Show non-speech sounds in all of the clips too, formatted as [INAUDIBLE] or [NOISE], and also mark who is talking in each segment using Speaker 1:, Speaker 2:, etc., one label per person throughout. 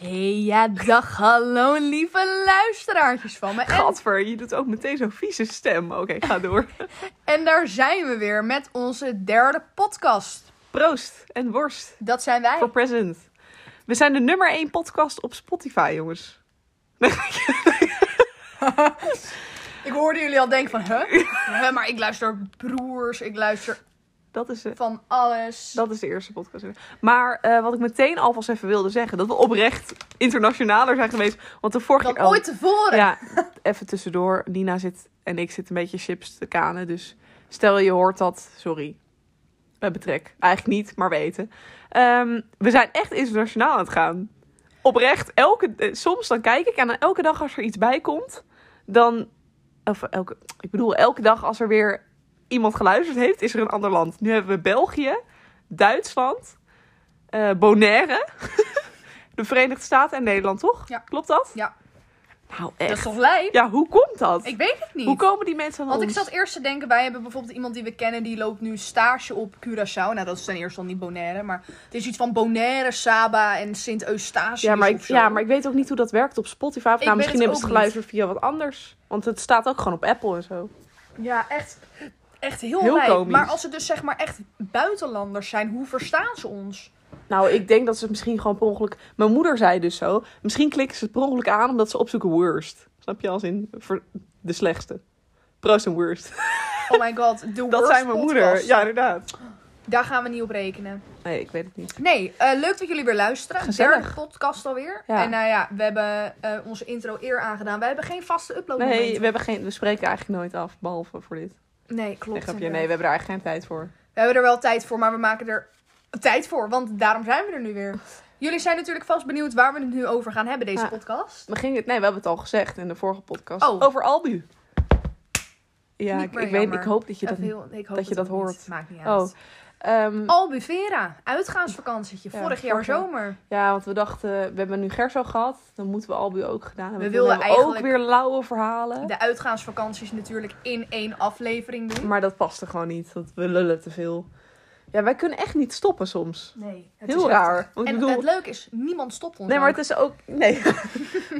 Speaker 1: Hey, ja, dag, hallo, lieve luisteraartjes van me. En,
Speaker 2: Gadver, je doet ook meteen zo'n vieze stem. Oké,
Speaker 1: [LAUGHS]
Speaker 2: ga door.
Speaker 1: en daar zijn we weer met onze derde podcast.
Speaker 2: Proost en worst
Speaker 1: Dat zijn wij.
Speaker 2: voor present. We zijn de nummer 1 podcast op Spotify, jongens.
Speaker 1: Ik hoorde jullie al denken van,
Speaker 2: [LAUGHS]
Speaker 1: huh? Huh, maar ik luister broers, ik luister
Speaker 2: Dat is, eh,
Speaker 1: van alles.
Speaker 2: dat is de eerste podcast. Maar eh, wat ik meteen alvast even wilde zeggen, dat we oprecht internationaler zijn geweest. Want de vorige
Speaker 1: dan
Speaker 2: keer... oh,
Speaker 1: ooit tevoren.
Speaker 2: Ja, even tussendoor. Nina zit en ik zitten een beetje chips te kanen. Dus stel je hoort dat, sorry. We betrek. Eigenlijk niet, maar we eten. Ehm, we zijn echt internationaal aan het gaan. Oprecht, elke, eh, soms dan kijk ik en dan elke dag als er iets bij komt, dan. Of elke, ik bedoel, elke dag als er weer iemand geluisterd heeft, is er een ander land. Nu hebben we België, Duitsland, eh, Bonaire, [LAUGHS] de Verenigde Staten en Nederland, toch?
Speaker 1: Ja.
Speaker 2: Klopt dat?
Speaker 1: Ja.
Speaker 2: Nou,
Speaker 1: Dat
Speaker 2: echt.
Speaker 1: is toch lijp?
Speaker 2: Ja, hoe komt dat?
Speaker 1: Ik weet het niet.
Speaker 2: Hoe komen die mensen aan
Speaker 1: Want ik
Speaker 2: ons?
Speaker 1: zat eerst te denken, wij hebben bijvoorbeeld iemand die we kennen, die loopt nu stage op Curaçao. Nou, dat is ten eerste al niet Bonaire, maar het is iets van Bonaire, Saba en Sint-Eustatius
Speaker 2: ja, maar ik,
Speaker 1: of zo.
Speaker 2: ja, maar ik weet ook niet hoe dat werkt op Spotify. Of
Speaker 1: Ik weet
Speaker 2: nou, misschien
Speaker 1: het
Speaker 2: hebben
Speaker 1: ook
Speaker 2: ze geluisterd via wat anders. Want het staat ook gewoon op Apple en zo.
Speaker 1: Ja, echt, echt heel,
Speaker 2: Heel
Speaker 1: lijp.
Speaker 2: komisch.
Speaker 1: Maar als het dus zeg maar echt buitenlanders zijn, hoe verstaan ze ons?
Speaker 2: Nou, ik denk dat ze misschien gewoon per ongeluk... Mijn moeder zei dus zo. Misschien klikken ze het per ongeluk aan omdat ze opzoeken worst. Snap je? Als in ver- de slechtste. Proost en worst. [LAUGHS]
Speaker 1: Oh my god, de
Speaker 2: Dat
Speaker 1: worst
Speaker 2: zijn mijn moeder.
Speaker 1: podcast.
Speaker 2: Ja, inderdaad.
Speaker 1: Daar gaan we niet op rekenen.
Speaker 2: Nee, ik weet het niet.
Speaker 1: Nee, eh, leuk dat jullie weer luisteren.
Speaker 2: Gezellig.
Speaker 1: Derde podcast alweer.
Speaker 2: Ja.
Speaker 1: En nou ja, we hebben eh, onze intro eer aangedaan. We hebben geen vaste upload
Speaker 2: Nee, we, hebben geen, we spreken eigenlijk nooit af, behalve voor dit.
Speaker 1: nee,
Speaker 2: Nee,
Speaker 1: klopt.
Speaker 2: grapje.
Speaker 1: inderdaad.
Speaker 2: Nee, we hebben er eigenlijk geen tijd voor.
Speaker 1: We hebben er wel tijd voor, maar we maken er tijd voor. Want daarom zijn we er nu weer. Jullie zijn natuurlijk vast benieuwd waar we het nu over gaan hebben, deze
Speaker 2: Ja.
Speaker 1: podcast.
Speaker 2: We gingen, nee, we hebben het al gezegd in de vorige podcast.
Speaker 1: Oh.
Speaker 2: Over Albu. Ja,
Speaker 1: Niet
Speaker 2: ik,
Speaker 1: meer
Speaker 2: ik, weet,
Speaker 1: jammer.
Speaker 2: ik hoop dat je dat...
Speaker 1: Even heel- ik hoop
Speaker 2: dat je dat
Speaker 1: ook niet.
Speaker 2: hoort.
Speaker 1: Maakt niet uit.
Speaker 2: Oh, ehm,
Speaker 1: Albufera, uitgaansvakantietje,
Speaker 2: Ja,
Speaker 1: vorig jaar
Speaker 2: vorig jaar.
Speaker 1: zomer.
Speaker 2: ja, want we dachten, we hebben nu Gerso gehad. Dan moeten we Albu ook gedaan hebben.
Speaker 1: We
Speaker 2: Toen
Speaker 1: wilden
Speaker 2: hebben we ook
Speaker 1: eigenlijk-
Speaker 2: weer lauwe verhalen.
Speaker 1: De uitgaansvakanties natuurlijk in één aflevering doen.
Speaker 2: Maar dat paste gewoon niet. Want we lullen te veel. Ja, wij kunnen echt niet stoppen soms.
Speaker 1: Nee, het
Speaker 2: Heel
Speaker 1: is
Speaker 2: raar.
Speaker 1: heftig.
Speaker 2: Want ik
Speaker 1: en
Speaker 2: bedoel-
Speaker 1: het leuke is, niemand stopt ons.
Speaker 2: Nee, maar
Speaker 1: ook.
Speaker 2: het is ook...
Speaker 1: [LAUGHS]
Speaker 2: Nee. maar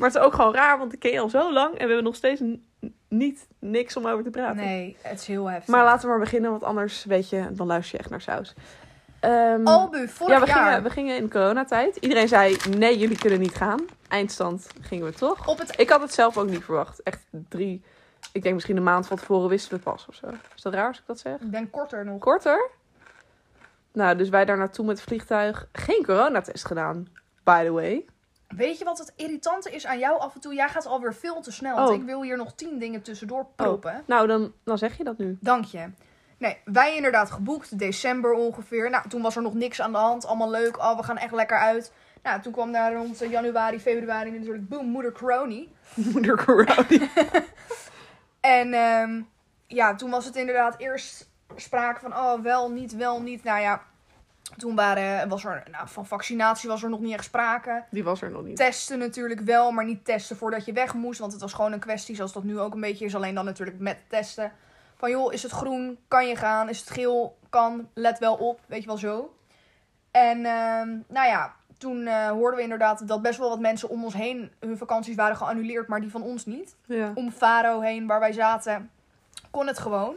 Speaker 2: het is ook gewoon raar, want ik ken je al zo lang. En we hebben nog steeds n- niet niks om over te praten.
Speaker 1: Nee, het is heel heftig.
Speaker 2: Maar laten we maar beginnen, want anders weet je, dan luister je echt naar saus. Ehm,
Speaker 1: Albu, vorig
Speaker 2: ja, we
Speaker 1: jaar.
Speaker 2: gingen, we gingen in de coronatijd. Iedereen zei, nee, jullie kunnen niet gaan. Eindstand gingen we toch.
Speaker 1: Op het...
Speaker 2: Ik had het zelf ook niet verwacht. Echt drie, ik denk misschien een maand van tevoren wisten we het pas of zo. Is dat raar als ik dat zeg?
Speaker 1: Ik ben korter nog.
Speaker 2: Korter? Nou, dus wij daar naartoe met het vliegtuig. Geen coronatest gedaan, by the way.
Speaker 1: Weet je wat het irritante is aan jou af en toe? Jij gaat alweer veel te snel.
Speaker 2: Oh.
Speaker 1: Want ik wil hier nog tien dingen tussendoor proppen.
Speaker 2: Nou, dan, dan zeg je dat nu. [LAUGHS]
Speaker 1: Dank je. Nee, wij inderdaad geboekt, december ongeveer. Nou, toen was er nog niks aan de hand. Allemaal leuk, oh, we gaan echt lekker uit. Nou, toen kwam daar rond eh, januari, februari natuurlijk, boom, moeder Crony.
Speaker 2: Moeder corona.
Speaker 1: En ehm, ja, toen was het inderdaad eerst sprake van, oh, wel, niet, wel, niet. Nou ja, toen waren, was er, nou, van vaccinatie was er nog niet echt sprake.
Speaker 2: Die was er nog niet.
Speaker 1: Testen natuurlijk wel, maar niet testen voordat je weg moest. Want het was gewoon een kwestie, zoals dat nu ook een beetje is. Alleen dan natuurlijk met testen. Van joh, is het groen? Kan je gaan? Is het geel? Kan. Let wel op. Weet je wel zo. En ehm, nou ja, toen eh, hoorden we inderdaad dat best wel wat mensen om ons heen hun vakanties waren geannuleerd. Maar die van ons niet.
Speaker 2: Ja.
Speaker 1: Om Faro heen, waar wij zaten, kon het gewoon.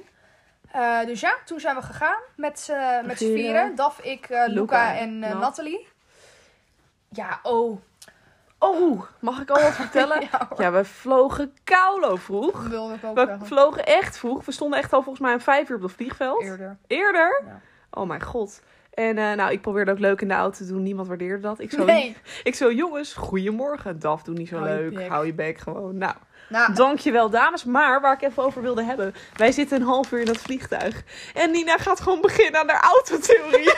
Speaker 1: Eh, dus ja, toen zijn we gegaan met, eh met z'n
Speaker 2: Vieren.
Speaker 1: vieren. Daf, ik, eh, Luca,
Speaker 2: Luca,
Speaker 1: en eh,
Speaker 2: Nat.
Speaker 1: Nathalie. Ja, oh.
Speaker 2: Oh, mag ik al wat vertellen?
Speaker 1: [LAUGHS] Ja, hoor.
Speaker 2: Ja, we vlogen koulo vroeg.
Speaker 1: wilde ik ook
Speaker 2: We
Speaker 1: zeggen.
Speaker 2: vlogen echt vroeg. We stonden echt al volgens mij om vijf uur op het vliegveld. [LAUGHS]
Speaker 1: Eerder.
Speaker 2: Eerder?
Speaker 1: Ja.
Speaker 2: Oh mijn god. En eh, nou, ik probeerde ook leuk in de auto te doen. Niemand waardeerde dat. Ik zo,
Speaker 1: Nee.
Speaker 2: ik zo jongens, goedemorgen. Daf, doe niet zo
Speaker 1: Hou je
Speaker 2: leuk.
Speaker 1: bek.
Speaker 2: Hou je bek gewoon. Nou,
Speaker 1: Nou,
Speaker 2: [LAUGHS] dankjewel dames. Maar waar ik even over wilde hebben. Wij zitten een half uur in dat vliegtuig. En Nina gaat gewoon beginnen aan haar
Speaker 1: [LAUGHS]
Speaker 2: autotheorie. [LAUGHS]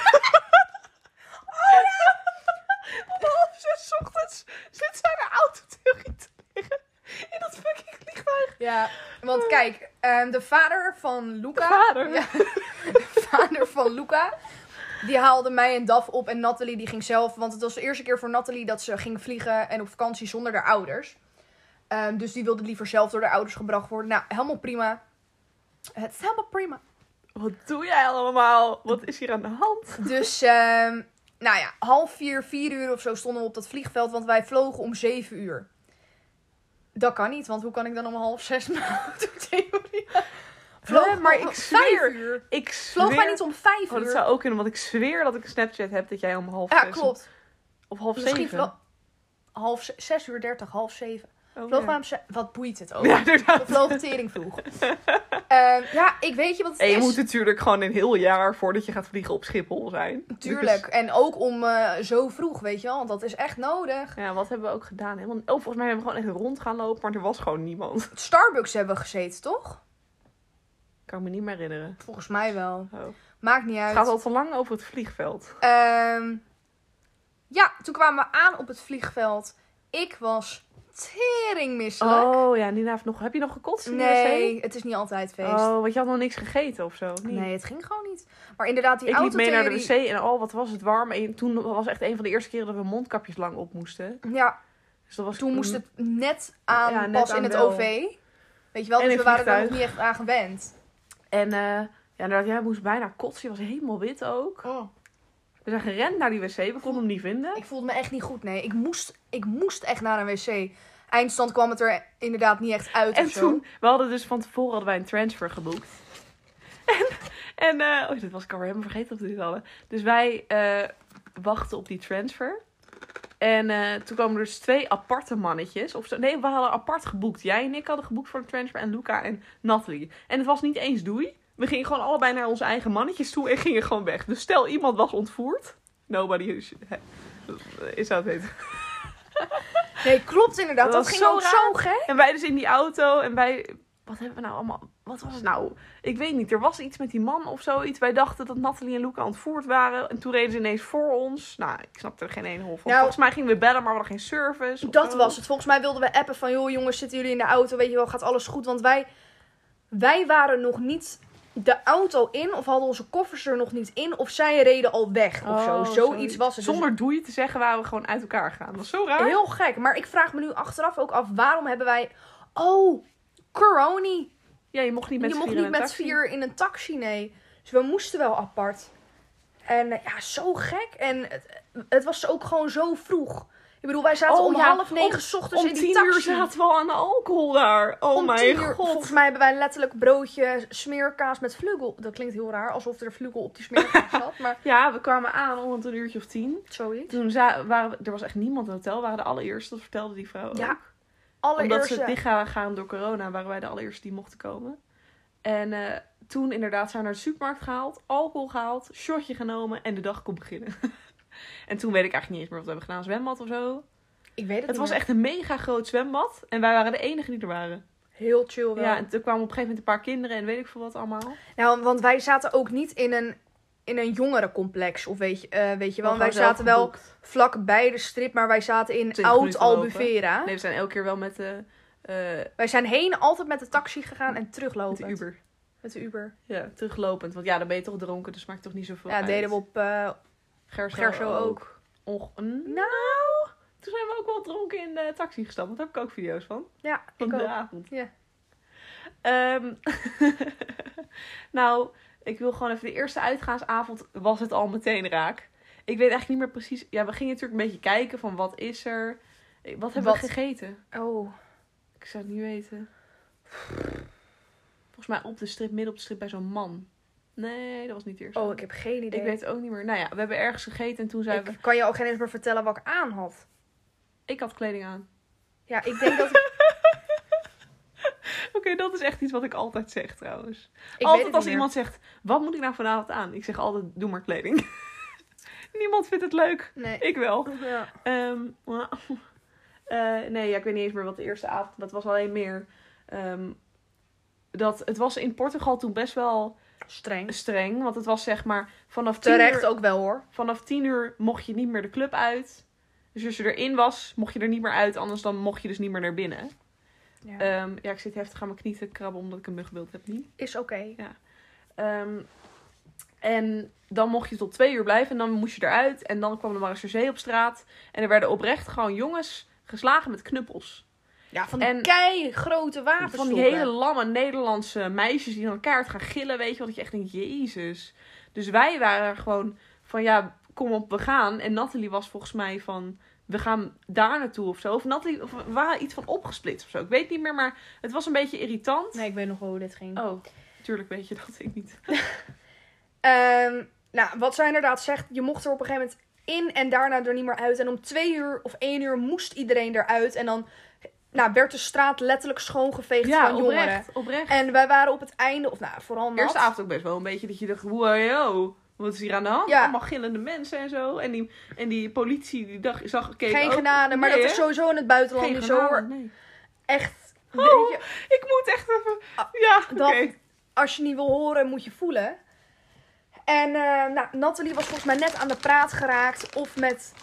Speaker 2: Om half zes ochtends zit zij haar autotheorie te liggen. In dat fucking vliegtuig.
Speaker 1: ja, want kijk, ehm, de vader van Luca.
Speaker 2: De vader?
Speaker 1: Ja, [LAUGHS] de vader van Luca. Die haalde mij en Daf op en Nathalie die ging zelf. Want het was de eerste keer voor Nathalie dat ze ging vliegen en op vakantie zonder haar ouders. Ehm, dus die wilde liever zelf door haar ouders gebracht worden. Nou, helemaal prima. Het is helemaal prima.
Speaker 2: Wat doe jij allemaal? Wat is hier aan de hand?
Speaker 1: Dus ehm, nou ja, half vier, vier uur of zo stonden we op dat vliegveld, want wij vlogen om zeven uur. Dat kan niet, want hoe kan ik dan om half zes mijn [LAUGHS] autotheorie?
Speaker 2: Hè, maar
Speaker 1: om
Speaker 2: ik zweer-
Speaker 1: vijf uur.
Speaker 2: Ik
Speaker 1: Vloog
Speaker 2: zweer-
Speaker 1: wij niet om vijf
Speaker 2: Oh, dat
Speaker 1: uur?
Speaker 2: zou ook kunnen, want ik zweer dat ik een Snapchat heb dat jij om half
Speaker 1: ja,
Speaker 2: zes-
Speaker 1: klopt.
Speaker 2: Of half
Speaker 1: Misschien
Speaker 2: zeven.
Speaker 1: vlo- half ze- zes uur dertig, half zeven.
Speaker 2: Oh,
Speaker 1: Vloog
Speaker 2: ja.
Speaker 1: maar om ze- Wat boeit het ook?
Speaker 2: Ja,
Speaker 1: We
Speaker 2: inderdaad.
Speaker 1: vlogen tering
Speaker 2: [LAUGHS]
Speaker 1: vroeg. Ehm, ja, ik weet je wat het
Speaker 2: En je
Speaker 1: is.
Speaker 2: moet natuurlijk gewoon een heel jaar voordat je gaat vliegen op Schiphol zijn.
Speaker 1: Tuurlijk. En ook om eh, zo vroeg, weet je wel. Want dat is echt nodig.
Speaker 2: Dus- ja, wat hebben we ook gedaan? Helemaal, oh, volgens mij hebben we gewoon echt rond gaan lopen, maar er was gewoon niemand. [LAUGHS]
Speaker 1: Starbucks hebben we gezeten, toch?
Speaker 2: Kan ik me niet meer herinneren.
Speaker 1: Volgens mij wel.
Speaker 2: Oh.
Speaker 1: Maakt niet
Speaker 2: Het
Speaker 1: uit.
Speaker 2: gaat al te lang over het vliegveld.
Speaker 1: Ehm, ja, toen kwamen we aan op het vliegveld. Ik was teringmisselijk.
Speaker 2: Oh ja, Nina heeft nog... Heb je nog gekotst? in de wc?
Speaker 1: nee, het is niet altijd feest.
Speaker 2: Oh, want je had nog niks gegeten of zo? of niet?
Speaker 1: Nee, het ging gewoon niet. Maar inderdaad, die
Speaker 2: Ik liep mee naar de
Speaker 1: autotheorie...
Speaker 2: wc en oh, wat was het warm. En toen was echt een van de eerste keren dat we mondkapjes lang op moesten.
Speaker 1: Ja,
Speaker 2: Dus dat was
Speaker 1: toen moest het net aan
Speaker 2: Ja, net
Speaker 1: pas
Speaker 2: aan
Speaker 1: in het
Speaker 2: wel.
Speaker 1: OV. Weet je wel,
Speaker 2: En
Speaker 1: dus
Speaker 2: in
Speaker 1: we waren er nog
Speaker 2: vliegtuig.
Speaker 1: niet echt aan gewend.
Speaker 2: En eh ja, inderdaad, jij moest bijna kotsen. Je was helemaal wit ook. We zijn gerend naar die wc. We konden hem niet vinden.
Speaker 1: Ik voelde me echt niet goed, nee. Ik moest, ik moest echt naar een wc. Eindstand kwam het er inderdaad niet echt uit
Speaker 2: En
Speaker 1: of zo.
Speaker 2: toen, we hadden dus van tevoren hadden wij een transfer geboekt. [LAUGHS] En, en eh oh, dat was ik alweer helemaal vergeten dat we dit hadden. Dus wij eh, wachten op die transfer. En eh, toen kwamen er dus twee aparte mannetjes. Of zo, nee, we hadden apart geboekt. Jij en ik hadden geboekt voor de transfer en Luca en Natalie. En het was niet eens doei. We gingen gewoon allebei naar onze eigen mannetjes toe en gingen gewoon weg. Dus stel iemand was ontvoerd. Nobody is, is dat het.
Speaker 1: Nee, klopt inderdaad. Dat,
Speaker 2: Dat was
Speaker 1: ging
Speaker 2: zo
Speaker 1: ook
Speaker 2: raar.
Speaker 1: zo gek.
Speaker 2: En wij dus in die auto en wij... Wat hebben we nou allemaal... Wat was het nou? Ik weet niet. Er was iets met die man of zoiets. Wij dachten dat Nathalie en Luca ontvoerd waren. En toen reden ze ineens voor ons. Nou, ik snapte er geen ene hol van.
Speaker 1: Nou,
Speaker 2: Volgens mij gingen we bellen, maar we hadden geen service. of
Speaker 1: Dat
Speaker 2: zo.
Speaker 1: was het. Volgens mij wilden we appen van... joh jongens, zitten jullie in de auto? Weet je wel, gaat alles goed? Want wij, wij waren nog niet de auto in... of hadden onze koffers er nog niet in... of zij reden al weg of zo.
Speaker 2: Oh,
Speaker 1: Zoiets, was het. Dus
Speaker 2: Zonder doei te zeggen waren we gewoon uit elkaar gegaan. Dat is zo raar.
Speaker 1: heel gek. Maar ik vraag me nu achteraf ook af... waarom hebben wij... Oh, corona.
Speaker 2: Ja, je mocht niet met
Speaker 1: je
Speaker 2: z'n
Speaker 1: mocht niet
Speaker 2: vieren in een
Speaker 1: met
Speaker 2: taxi.
Speaker 1: vier in een taxi, nee. Dus we moesten wel apart. En eh, ja, zo gek. En het, het was ook gewoon zo vroeg. Ik bedoel, wij zaten
Speaker 2: Oh,
Speaker 1: om
Speaker 2: ja,
Speaker 1: half negen 's ochtends
Speaker 2: Om
Speaker 1: in die
Speaker 2: tien
Speaker 1: taxi.
Speaker 2: uur zaten we al aan de alcohol daar. Oh
Speaker 1: om
Speaker 2: mijn
Speaker 1: tien uur,
Speaker 2: god.
Speaker 1: volgens mij hebben wij letterlijk broodje smeerkaas met vlugel. Dat klinkt heel raar, alsof er vlugel op die
Speaker 2: [LAUGHS]
Speaker 1: smeerkaas zat. Maar
Speaker 2: Ja, we kwamen aan om het een uurtje of tien.
Speaker 1: zoiets.
Speaker 2: Toen za- waren we, er was echt niemand in het hotel. We waren de allereerste, dat vertelde die vrouw ook.
Speaker 1: Ja,
Speaker 2: Omdat ze
Speaker 1: Allereerst.
Speaker 2: het dicht gaan gaan door corona, waren wij de allereerste die mochten komen. En eh, toen inderdaad zijn we naar de supermarkt gehaald, alcohol gehaald, shotje genomen en de dag kon beginnen. [LAUGHS] en toen weet ik eigenlijk niet eens meer wat we hebben gedaan, zwembad of zo.
Speaker 1: Ik weet het,
Speaker 2: Het
Speaker 1: niet
Speaker 2: was
Speaker 1: meer.
Speaker 2: echt een mega groot zwembad en wij waren de enigen die er waren.
Speaker 1: heel chill Oh, wel.
Speaker 2: Ja, en toen kwamen op een gegeven moment een paar kinderen en weet ik veel wat allemaal.
Speaker 1: Nou, want wij zaten ook niet in een, in een jongerencomplex, of weet je, eh, weet je wel.
Speaker 2: We hadden
Speaker 1: Wij zaten wel
Speaker 2: geboekt.
Speaker 1: vlak bij de strip, maar wij zaten in
Speaker 2: 20
Speaker 1: Oud
Speaker 2: minuten lopen.
Speaker 1: Albufera.
Speaker 2: Nee, we zijn elke keer wel met de, eh,
Speaker 1: Wij zijn heen altijd met de taxi gegaan en
Speaker 2: met
Speaker 1: teruglopend.
Speaker 2: de Uber.
Speaker 1: Met de Uber.
Speaker 2: Ja, teruglopend. Want ja, dan ben je toch dronken, dus maakt toch niet zoveel
Speaker 1: ja,
Speaker 2: uit. Oh.
Speaker 1: deden we op eh
Speaker 2: Gerso,
Speaker 1: Gerso ook. Hm? Nou!
Speaker 2: Och, mm. Toen zijn we ook wel dronken in de taxi gestapt. Want daar heb ik ook video's van.
Speaker 1: Ja,
Speaker 2: Van
Speaker 1: ik ook.
Speaker 2: de avond.
Speaker 1: Ja.
Speaker 2: Ehm, [LAUGHS] nou, ik wil gewoon even... De eerste uitgaansavond was het al meteen raak. Ik weet eigenlijk niet meer precies... Ja, we gingen natuurlijk een beetje kijken van wat is er... Eh, Wat hebben we
Speaker 1: Wat?
Speaker 2: gegeten?
Speaker 1: Oh,
Speaker 2: Ik zou het niet weten. Volgens mij op de strip, midden op de strip bij zo'n man. Nee, dat was niet eerst.
Speaker 1: oh, ik heb geen idee.
Speaker 2: Ik weet het ook niet meer. Nou ja, we hebben ergens gegeten en toen zijn we...
Speaker 1: Ik kan je ook geen eens meer vertellen wat ik aan had.
Speaker 2: Ik had kleding aan.
Speaker 1: Ja, ik denk
Speaker 2: [LAUGHS]
Speaker 1: dat ik...
Speaker 2: Oké, dat is echt iets wat ik altijd zeg trouwens.
Speaker 1: ik weet
Speaker 2: altijd
Speaker 1: het
Speaker 2: als
Speaker 1: niet
Speaker 2: iemand zegt, wat moet ik nou vanavond aan? Ik zeg altijd, doe maar kleding. [LAUGHS] Niemand vindt het leuk.
Speaker 1: meer. Nee.
Speaker 2: Ik wel.
Speaker 1: Ja.
Speaker 2: Ehm, mwah. [LAUGHS] Eh, nee, ja, ik weet niet eens meer wat de eerste avond... Dat was alleen meer... ehm, dat, het was in Portugal toen best wel
Speaker 1: Streng.
Speaker 2: streng. Want het was zeg maar vanaf tien
Speaker 1: Terecht
Speaker 2: uur,
Speaker 1: ook wel hoor.
Speaker 2: vanaf tien uur mocht je niet meer de club uit. Dus als je erin was, mocht je er niet meer uit. Anders dan mocht je dus niet meer naar binnen.
Speaker 1: Ja.
Speaker 2: Ehm, ja, ik zit heftig aan mijn knie te krabben omdat ik een mugbeeld heb nu.
Speaker 1: Is oké.
Speaker 2: Ehm, en dan mocht je tot twee uur blijven en dan moest je eruit. En dan kwam er maar een zee op straat. En er werden oprecht gewoon jongens geslagen met knuppels.
Speaker 1: Ja, van die
Speaker 2: En-
Speaker 1: kei grote wapens.
Speaker 2: Van die hele lamme Nederlandse meisjes die aan elkaar het gaan gillen, weet je wel. Dat je echt denkt, jezus. Dus wij waren gewoon van, ja, kom op, we gaan. En Natalie was volgens mij van, we gaan daar naartoe of zo. Of Natalie, of we waren iets van opgesplitst of zo. Ik weet niet meer, maar het was een beetje irritant.
Speaker 1: Nee, ik weet nog wel hoe dit ging.
Speaker 2: Oh, tuurlijk weet je dat ik niet.
Speaker 1: Ehm, nou, wat zij inderdaad zegt, je mocht er op een gegeven moment in en daarna er niet meer uit. En om twee uur of één uur moest iedereen eruit. En dan nou, werd de straat letterlijk schoongeveegd van jongeren.
Speaker 2: oprecht, oprecht.
Speaker 1: En wij waren op het einde, of nou, vooral nat.
Speaker 2: Eerste avond ook best wel een beetje dat je dacht, wow, wat is hier aan de hand?
Speaker 1: Ja.
Speaker 2: Allemaal gillende mensen en zo. En die, en die politie die dag, zag, keek
Speaker 1: Geen
Speaker 2: ook.
Speaker 1: genade, maar
Speaker 2: Oh, Nee,
Speaker 1: dat is
Speaker 2: hè?
Speaker 1: sowieso in het
Speaker 2: Geen
Speaker 1: buitenland niet zo.
Speaker 2: genade,
Speaker 1: hoor.
Speaker 2: nee.
Speaker 1: Echt,
Speaker 2: Oh.
Speaker 1: weet je,
Speaker 2: Ik moet echt even...
Speaker 1: Ah,
Speaker 2: Ja, oké.
Speaker 1: dat als je niet wil horen, moet je voelen. En eh nou, Nathalie was volgens mij net aan de praat geraakt. Of met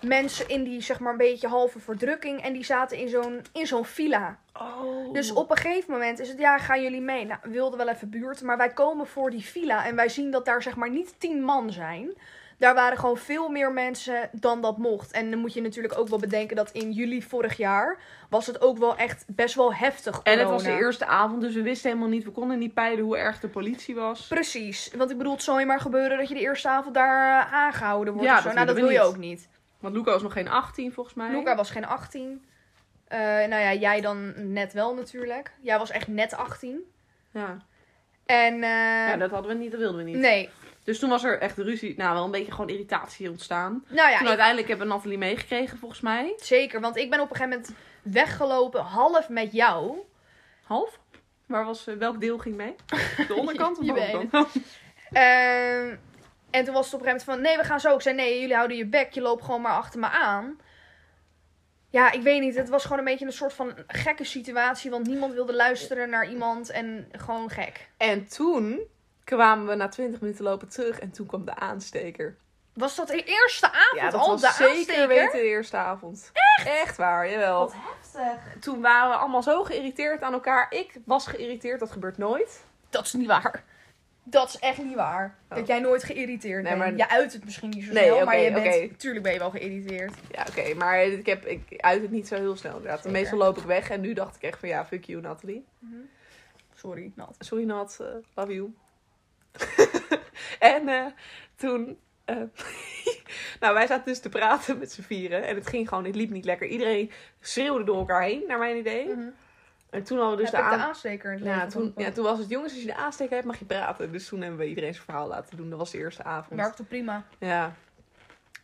Speaker 1: mensen in die, zeg maar, een beetje halve verdrukking. En die zaten in zo'n, in zo'n villa.
Speaker 2: Oh.
Speaker 1: Dus op een gegeven moment is het, ja, gaan jullie mee? Nou, we wilden wel even buurt, maar wij komen voor die villa en wij zien dat daar zeg maar niet tien man zijn. Daar waren gewoon veel meer mensen dan dat mocht. En dan moet je natuurlijk ook wel bedenken dat in juli vorig jaar was het ook wel echt best wel heftig
Speaker 2: En het was de
Speaker 1: corona.
Speaker 2: eerste avond, dus we wisten helemaal niet. We konden niet peilen hoe erg de politie was.
Speaker 1: Precies, want ik bedoel, het zal je maar gebeuren dat je de eerste avond daar eh, aangehouden wordt
Speaker 2: Ja,
Speaker 1: of zo.
Speaker 2: dat
Speaker 1: nou, dat
Speaker 2: willen
Speaker 1: wil
Speaker 2: we
Speaker 1: je
Speaker 2: niet.
Speaker 1: ook niet.
Speaker 2: Want Luca was nog geen 18, volgens mij.
Speaker 1: Luca was geen 18. Eh, nou ja, jij dan net wel natuurlijk. Jij was echt net 18.
Speaker 2: Ja.
Speaker 1: En eh,
Speaker 2: ja, dat hadden we niet, dat wilden we niet.
Speaker 1: nee,
Speaker 2: Dus toen was er echt ruzie. Nou, wel een beetje gewoon irritatie ontstaan.
Speaker 1: nou ja,
Speaker 2: toen
Speaker 1: ik-
Speaker 2: uiteindelijk hebben Nathalie meegekregen, volgens mij.
Speaker 1: Zeker, want ik ben op een gegeven moment weggelopen, half met jou.
Speaker 2: Half? Waar was, eh, welk deel
Speaker 1: [LAUGHS]
Speaker 2: ging mee? De onderkant of
Speaker 1: Je
Speaker 2: de
Speaker 1: benen.
Speaker 2: bovenkant?
Speaker 1: Ehm, en toen was het op een gegeven moment van, nee, we gaan zo. Ik zei, nee, jullie houden je bek, je loopt gewoon maar achter me aan. Ja, ik weet niet, het was gewoon een beetje een soort van gekke situatie, want niemand wilde luisteren naar iemand en gewoon gek.
Speaker 2: En toen kwamen we na 20 minuten lopen terug en toen kwam de aansteker.
Speaker 1: Was dat de eerste avond
Speaker 2: ja, dat
Speaker 1: al
Speaker 2: was
Speaker 1: de
Speaker 2: zeker
Speaker 1: aansteker?
Speaker 2: weten de eerste avond. Echt? Echt waar, jawel.
Speaker 1: heftig.
Speaker 2: Toen waren we allemaal zo geïrriteerd aan elkaar. Ik was geïrriteerd, dat gebeurt nooit.
Speaker 1: Dat is niet waar. Dat is echt niet waar.
Speaker 2: Oh.
Speaker 1: Dat jij nooit geïrriteerd
Speaker 2: Nee,
Speaker 1: bent.
Speaker 2: maar-
Speaker 1: Je uit het misschien niet zo
Speaker 2: Nee,
Speaker 1: snel, maar
Speaker 2: oké,
Speaker 1: je bent,
Speaker 2: oké.
Speaker 1: tuurlijk ben je wel geïrriteerd.
Speaker 2: Ja, oké, maar ik, heb, ik uit het niet zo heel snel. Inderdaad.
Speaker 1: Zeker.
Speaker 2: Meestal loop ik weg en nu dacht ik echt van ja, fuck you, Nathalie.
Speaker 1: Sorry, Nat.
Speaker 2: Sorry, Nat, eh, love you. [LAUGHS] en eh, toen. eh, [LAUGHS] nou, wij zaten dus te praten met z'n vieren en het ging gewoon, het liep niet lekker. Iedereen schreeuwde door elkaar heen, naar mijn idee.
Speaker 1: Mhm.
Speaker 2: En toen hadden we dus
Speaker 1: Heb
Speaker 2: de
Speaker 1: ik de
Speaker 2: aan-
Speaker 1: aansteker in het
Speaker 2: Ja
Speaker 1: leven
Speaker 2: toen,
Speaker 1: geroepen?
Speaker 2: ja, toen was het jongens, als je de aansteker hebt, mag je praten. Dus toen hebben we iedereen zijn verhaal laten doen. Dat was de eerste avond.
Speaker 1: Werkte prima.
Speaker 2: Ja.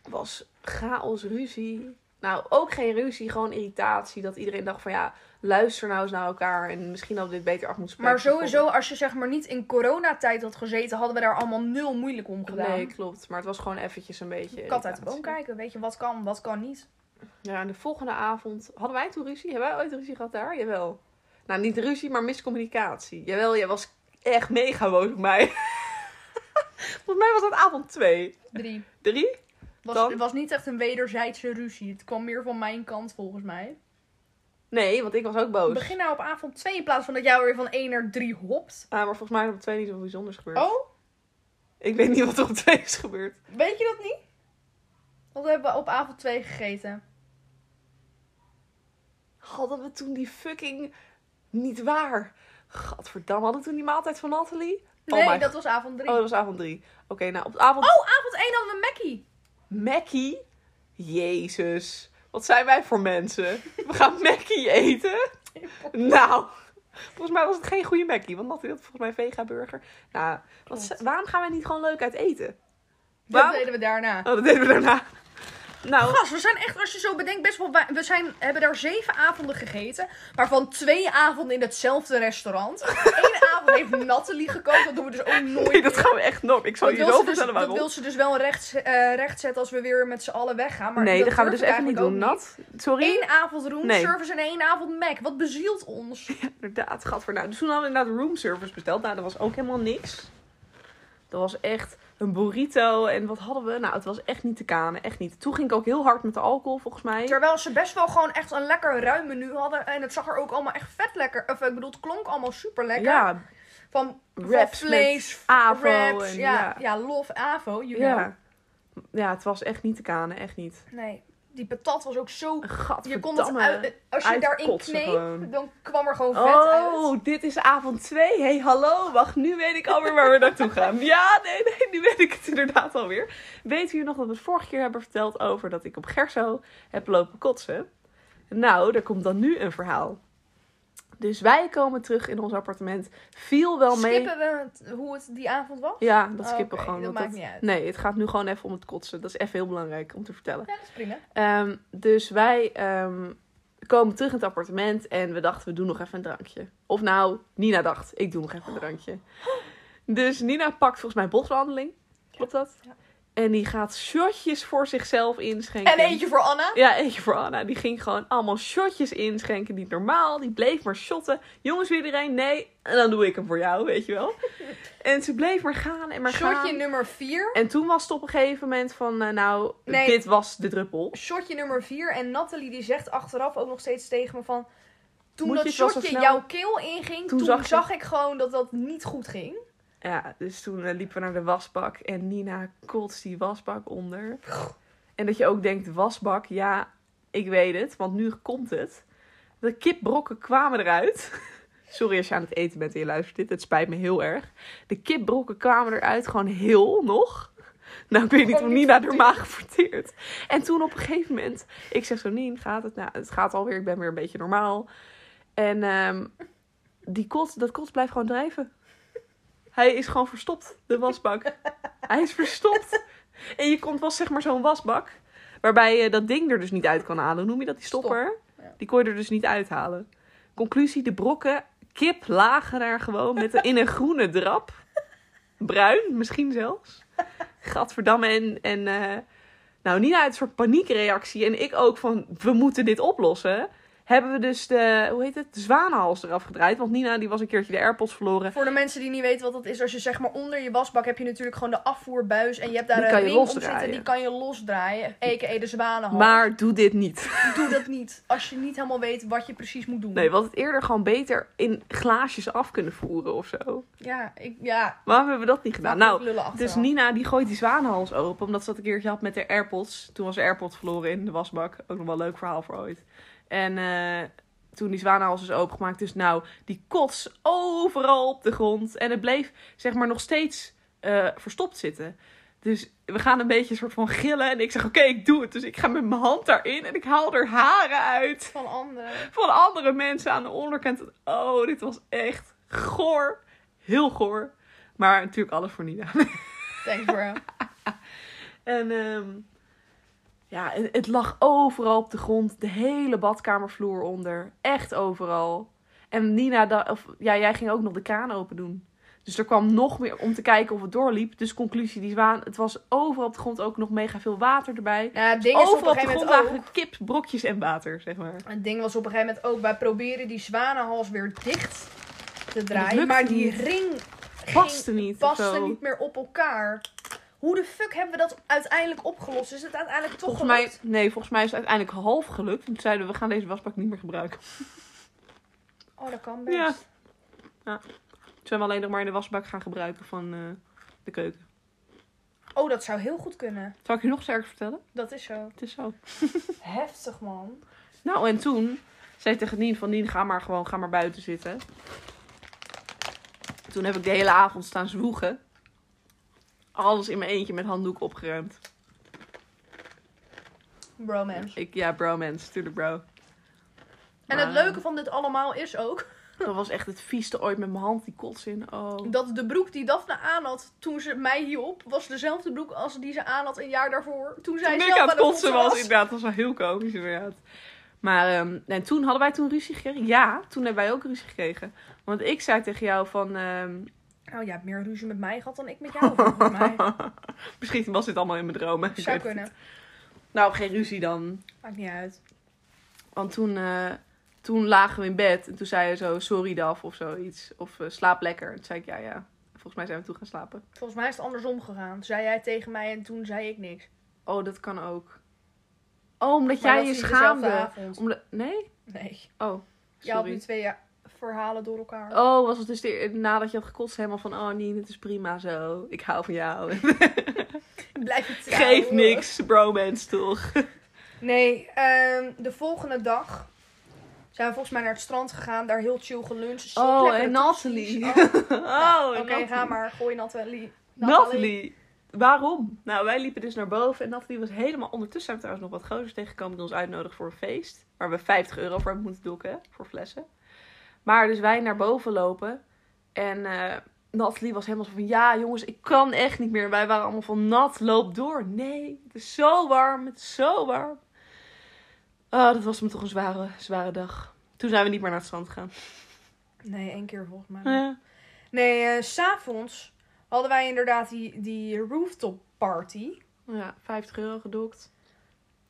Speaker 2: Was chaos, ruzie. Nou, ook geen ruzie, gewoon irritatie. Dat iedereen dacht van ja, luister nou eens naar elkaar. En misschien hadden we dit beter af moeten spreken.
Speaker 1: Maar sowieso, als je zeg maar niet in coronatijd had gezeten, hadden we daar allemaal nul moeilijk om gedaan.
Speaker 2: Nee, klopt. Maar het was gewoon eventjes een beetje
Speaker 1: Kat uit de boom
Speaker 2: irritatie.
Speaker 1: kijken, weet je, wat kan, wat kan niet.
Speaker 2: Ja, en de volgende avond... Hadden wij toen ruzie? Hebben wij ooit ruzie gehad daar? Jawel. Nou, niet ruzie, maar miscommunicatie. Jawel, jij was echt mega boos op mij. [LAUGHS] Volgens mij was dat avond twee.
Speaker 1: Drie.
Speaker 2: Drie?
Speaker 1: Was,
Speaker 2: Dan?
Speaker 1: Het was niet echt een wederzijdse ruzie. Het kwam meer van mijn kant volgens mij.
Speaker 2: Nee, want ik was ook boos.
Speaker 1: Begin nou op avond 2 in plaats van dat jij weer van 1 naar 3 hopt.
Speaker 2: Ah, maar volgens mij is er op twee niet zoveel bijzonders gebeurd.
Speaker 1: Oh,
Speaker 2: Ik weet niet wat er op twee is gebeurd.
Speaker 1: weet je dat niet? Wat hebben we op avond 2 gegeten?
Speaker 2: Hadden we toen die fucking niet waar? Gadverdamme, hadden we toen die maaltijd van Natalie?
Speaker 1: Nee,
Speaker 2: my
Speaker 1: dat was avond 3.
Speaker 2: Oh, dat was avond drie. Oké, nou op avond
Speaker 1: Oh, avond 1 hadden we Mackie.
Speaker 2: Mackie. Jezus, wat zijn wij voor mensen? We
Speaker 1: [LAUGHS]
Speaker 2: gaan Mackie eten? Nou, volgens mij was het geen goede Mackie, want Natalie had volgens mij vega burger. Nou, wat,
Speaker 1: Klopt.
Speaker 2: waarom gaan wij niet gewoon leuk uit eten?
Speaker 1: Dat
Speaker 2: Waarom?
Speaker 1: deden we daarna.
Speaker 2: Oh, dat deden we daarna. Nou,
Speaker 1: Gast, we zijn echt, als je zo bedenkt, best wel. wa- We zijn, hebben daar zeven avonden gegeten. Waarvan twee avonden in hetzelfde
Speaker 2: [LAUGHS]
Speaker 1: restaurant. Eén avond heeft Nathalie gekookt. Dat doen we dus ook nooit.
Speaker 2: Nee, [LAUGHS] dat gaan we echt nooit. Ik zal
Speaker 1: Dat
Speaker 2: je
Speaker 1: wil
Speaker 2: zo
Speaker 1: ze dus,
Speaker 2: vertellen
Speaker 1: dat
Speaker 2: waarom.
Speaker 1: wil ze dus wel recht, eh rechtzetten als we weer met z'n allen weggaan. Maar
Speaker 2: nee, dat gaan we
Speaker 1: durf
Speaker 2: dus
Speaker 1: ik
Speaker 2: even niet doen,
Speaker 1: eigenlijk ook
Speaker 2: Nat. Sorry.
Speaker 1: Eén avond roomservice
Speaker 2: Nee.
Speaker 1: service en één avond Mac. Wat bezielt ons?
Speaker 2: Inderdaad, gadver. Nou, dus toen hadden we inderdaad roomservice besteld. Nou, dat was ook helemaal niks. Dat was echt een burrito. En wat hadden we? Nou, het was echt niet te kanen. Echt niet. Toen ging ik ook heel hard met de alcohol, volgens mij.
Speaker 1: Terwijl ze best wel gewoon echt een lekker ruim menu hadden. En het zag er ook allemaal echt vet lekker. Of ik bedoel, het klonk allemaal super lekker.
Speaker 2: Ja,
Speaker 1: Van, van
Speaker 2: wraps met
Speaker 1: vlees,
Speaker 2: avo.
Speaker 1: wraps.
Speaker 2: en,
Speaker 1: ja, ja. love, avo, you know.
Speaker 2: ja. Ja, het was echt niet te kanen. Echt niet.
Speaker 1: Nee. Die patat was ook zo... Je kon het
Speaker 2: Gadverdamme.
Speaker 1: uit, als je daarin
Speaker 2: Uitkotsen
Speaker 1: kneep,
Speaker 2: gewoon.
Speaker 1: dan kwam er gewoon vet uit.
Speaker 2: Oh, dit is avond 2. hey, hallo. Wacht, nu weet ik alweer waar we naartoe
Speaker 1: [LAUGHS]
Speaker 2: gaan. Ja, nee, nee, nu weet ik het inderdaad alweer. Weet u nog dat we het vorige keer hebben verteld over dat ik op Gerso heb lopen kotsen? Nou, er komt dan nu een verhaal. Dus wij komen terug in ons appartement. Viel wel mee.
Speaker 1: Skippen we het- hoe het die avond was?
Speaker 2: Ja, dat
Speaker 1: Oh,
Speaker 2: skippen
Speaker 1: oké,
Speaker 2: we gewoon.
Speaker 1: Dat
Speaker 2: want
Speaker 1: maakt niet uit.
Speaker 2: Nee, het gaat nu gewoon even om het kotsen. Dat is even heel belangrijk om te vertellen.
Speaker 1: Ja, dat is prima.
Speaker 2: Ehm, dus wij ehm, komen terug in het appartement en we dachten, we doen nog even een drankje. Of nou, Nina dacht, ik doe nog even een drankje. Dus Nina pakt volgens mij boswandeling. Klopt dat?
Speaker 1: Ja.
Speaker 2: En die gaat shotjes voor zichzelf inschenken.
Speaker 1: En eentje voor Anna.
Speaker 2: Ja, eentje voor Anna. Die ging gewoon allemaal shotjes inschenken. Niet normaal. Die bleef maar shotten. Jongens, wil iedereen? Nee. En dan doe ik hem voor jou, weet
Speaker 1: [LAUGHS]
Speaker 2: je wel. En ze bleef maar gaan en maar gaan.
Speaker 1: Shotje nummer 4.
Speaker 2: En toen was het op een gegeven moment van, eh, nou,
Speaker 1: Nee.
Speaker 2: dit was de druppel.
Speaker 1: Shotje nummer 4. En Nathalie die zegt achteraf ook nog steeds tegen me van... Toen
Speaker 2: Moet je
Speaker 1: dat
Speaker 2: het wel zo
Speaker 1: shotje
Speaker 2: snel-
Speaker 1: jouw keel inging,
Speaker 2: Toen
Speaker 1: toen,
Speaker 2: zag
Speaker 1: zag,
Speaker 2: je-
Speaker 1: ik gewoon dat dat niet goed ging.
Speaker 2: Ja, dus toen eh, liepen we naar de wasbak en Nina kotst die wasbak onder. En dat je ook denkt, wasbak, ja, ik weet het, want nu komt het. De kipbrokken kwamen eruit. [LAUGHS] Sorry als je aan het eten bent en je luistert dit, het spijt me heel erg. De kipbrokken kwamen eruit, gewoon heel nog. Nou, ik weet niet
Speaker 1: Gewoon
Speaker 2: hoe
Speaker 1: niet
Speaker 2: Nina haar
Speaker 1: verteerd.
Speaker 2: maag verteert. En toen op een gegeven moment, ik zeg zo, Nien, gaat het? Nou, het gaat alweer, ik ben weer een beetje normaal. En ehm, die kot, dat kot blijft gewoon drijven. Hij is gewoon verstopt, de wasbak. Hij is verstopt. En je komt wel zeg maar zo'n wasbak. Waarbij je dat ding er dus niet uit kan halen. Hoe noem je dat? Die stopper?
Speaker 1: Stop, ja.
Speaker 2: Die kon je er dus niet uithalen. Conclusie, de brokken, kip lagen daar gewoon met een, in een groene drap. Bruin, misschien zelfs. Gadverdamme. En, en eh, nou, Nina uit een soort paniekreactie. En ik ook van, we moeten dit oplossen. Hebben we dus de, hoe heet het, de zwanenhals eraf gedraaid. Want Nina die was een keertje de airpods verloren.
Speaker 1: Voor de mensen die niet weten wat dat is, als je zeg maar onder je wasbak heb je natuurlijk gewoon de afvoerbuis. En je hebt daar
Speaker 2: Die
Speaker 1: een
Speaker 2: kan je
Speaker 1: ring om
Speaker 2: losdraaien.
Speaker 1: zitten, die kan je losdraaien. A.k.a. de zwanenhals.
Speaker 2: Maar doe dit niet.
Speaker 1: Doe dat niet, als je niet helemaal weet wat je precies moet doen.
Speaker 2: Nee, we hadden het eerder gewoon beter in glaasjes af kunnen voeren of zo.
Speaker 1: Ja, ik, ja.
Speaker 2: Waarom hebben we dat niet gedaan? Nou,
Speaker 1: lullen
Speaker 2: dus
Speaker 1: achteraf.
Speaker 2: Nina die gooit die zwanenhals open. Omdat ze dat een keertje had met haar AirPods. Toen was haar AirPods verloren in de wasbak. Ook nog wel een leuk verhaal voor ooit. En eh, toen die zwanenhals is opengemaakt. Dus nou, die kots overal op de grond. En het bleef zeg maar nog steeds eh, verstopt zitten. Dus we gaan een beetje soort van gillen. En ik zeg, oké, ik doe het. Dus ik ga met mijn hand daarin. En ik haal er haren uit
Speaker 1: Van anderen.
Speaker 2: van andere mensen aan de onderkant. Oh, dit was echt goor. Heel goor. Maar natuurlijk alles voor Nina.
Speaker 1: Thanks bro.
Speaker 2: [LAUGHS] En ehm, ja, en het lag overal op de grond. De hele badkamervloer onder. Echt overal. En Nina, da- of, ja, jij ging ook nog de kraan open doen. Dus er kwam nog meer om te kijken of het doorliep. Dus conclusie, die zwaan, het was overal op de grond ook nog mega veel water erbij.
Speaker 1: Nou, het ding is op een
Speaker 2: Overal op de
Speaker 1: gegeven
Speaker 2: grond
Speaker 1: moment ook...
Speaker 2: lagen kip, brokjes en water, zeg maar.
Speaker 1: Het ding was op een gegeven moment ook, wij proberen die zwanenhals weer dicht te
Speaker 2: lukte
Speaker 1: draaien. Maar die
Speaker 2: niet.
Speaker 1: ring ging-
Speaker 2: Paste niet. of
Speaker 1: paste
Speaker 2: zo.
Speaker 1: niet meer op elkaar. Hoe de fuck hebben we dat uiteindelijk opgelost? Is het uiteindelijk toch
Speaker 2: Volgens mij,
Speaker 1: gelukt?
Speaker 2: nee, volgens mij is het uiteindelijk half gelukt. Toen zeiden we, we gaan deze wasbak niet meer gebruiken.
Speaker 1: Oh, dat kan best.
Speaker 2: Ja. Toen zijn we alleen nog maar in de wasbak gaan gebruiken van eh, de keuken.
Speaker 1: Oh, dat zou heel goed kunnen.
Speaker 2: Zal ik je nog sterker vertellen?
Speaker 1: Dat is zo.
Speaker 2: Het is zo.
Speaker 1: Heftig, man.
Speaker 2: Nou, en toen zei ik tegen Nien van Nien, ga maar gewoon, ga maar buiten zitten. Toen heb ik de hele avond staan zwoegen. Alles in mijn eentje met handdoek opgeruimd.
Speaker 1: Bromance.
Speaker 2: Ik, ja, bro, mens, tuurlijk bro.
Speaker 1: En
Speaker 2: Maar,
Speaker 1: het leuke van dit allemaal is ook
Speaker 2: Dat was echt het vieste ooit met mijn hand, die kots in. Oh.
Speaker 1: dat de broek die Daphne aan had toen ze mij hielp, was dezelfde broek als die ze aan had een jaar daarvoor. Toen zij
Speaker 2: toen
Speaker 1: zelf
Speaker 2: ik aan het
Speaker 1: bij de
Speaker 2: kotsen was,
Speaker 1: was.
Speaker 2: inderdaad. Dat was wel heel komisch, inderdaad. Maar ehm, en toen hadden wij toen ruzie gekregen? Ja, toen hebben wij ook ruzie gekregen. Want ik zei tegen jou van... ehm,
Speaker 1: Nou, jij hebt meer ruzie met mij gehad dan ik met jou, volgens
Speaker 2: [LAUGHS]
Speaker 1: mij.
Speaker 2: misschien was dit allemaal in mijn dromen. Ik
Speaker 1: Zou
Speaker 2: weet het
Speaker 1: kunnen.
Speaker 2: niet. Nou, geen ruzie dan.
Speaker 1: Maakt niet uit.
Speaker 2: Want toen, eh, toen lagen we in bed. En toen zei je zo, sorry Daf, of zoiets. Of eh, slaap lekker. En toen zei ik, ja, ja. Volgens mij zijn we toen gaan slapen.
Speaker 1: Volgens mij is het andersom gegaan. Zei jij tegen mij en toen zei ik niks. maar
Speaker 2: Oh, dat kan ook. Oh, omdat
Speaker 1: dat is
Speaker 2: jij je
Speaker 1: niet dezelfde
Speaker 2: schaamde.
Speaker 1: avond.
Speaker 2: Omdat... Nee?
Speaker 1: Nee.
Speaker 2: Oh,
Speaker 1: Jij had nu
Speaker 2: sorry.
Speaker 1: twee ja, verhalen door elkaar.
Speaker 2: Oh, was het dus de, nadat je had gekotst helemaal van... Oh, Nien, het is prima zo. Ik hou van jou. [LAUGHS]
Speaker 1: Blijf je trouw.
Speaker 2: Geef niks, bromance toch. [LAUGHS]
Speaker 1: Nee, ehm, de volgende dag zijn we volgens mij naar het strand gegaan. Daar heel chill geluncht. Zo
Speaker 2: Oh,
Speaker 1: lekkere
Speaker 2: en
Speaker 1: tosti's.
Speaker 2: Nathalie. [LAUGHS]
Speaker 1: Oh,
Speaker 2: Oh,
Speaker 1: Oké,
Speaker 2: Nathalie.
Speaker 1: ga maar. Gooi Nathalie.
Speaker 2: Nathalie. Nou, Waarom? Nou, wij liepen dus naar boven en Nathalie was helemaal... Ondertussen zijn we trouwens nog wat gozers tegengekomen die ons uitnodigen voor een feest. Waar we 50 euro voor hebben moeten dokken, voor flessen. Maar dus wij naar boven lopen en eh Nathalie was helemaal zo van... Ja, jongens, ik kan echt niet meer. En wij waren allemaal van, Nat, loop door. Nee, het is zo warm, het is zo warm. Oh, dat was me toch een zware, zware dag. Toen zijn we niet meer naar het strand gegaan.
Speaker 1: Nee, één keer volgens mij.
Speaker 2: Ja.
Speaker 1: Nee, eh, s s'avonds hadden wij inderdaad die, die rooftop party.
Speaker 2: ja, 50 euro gedokt.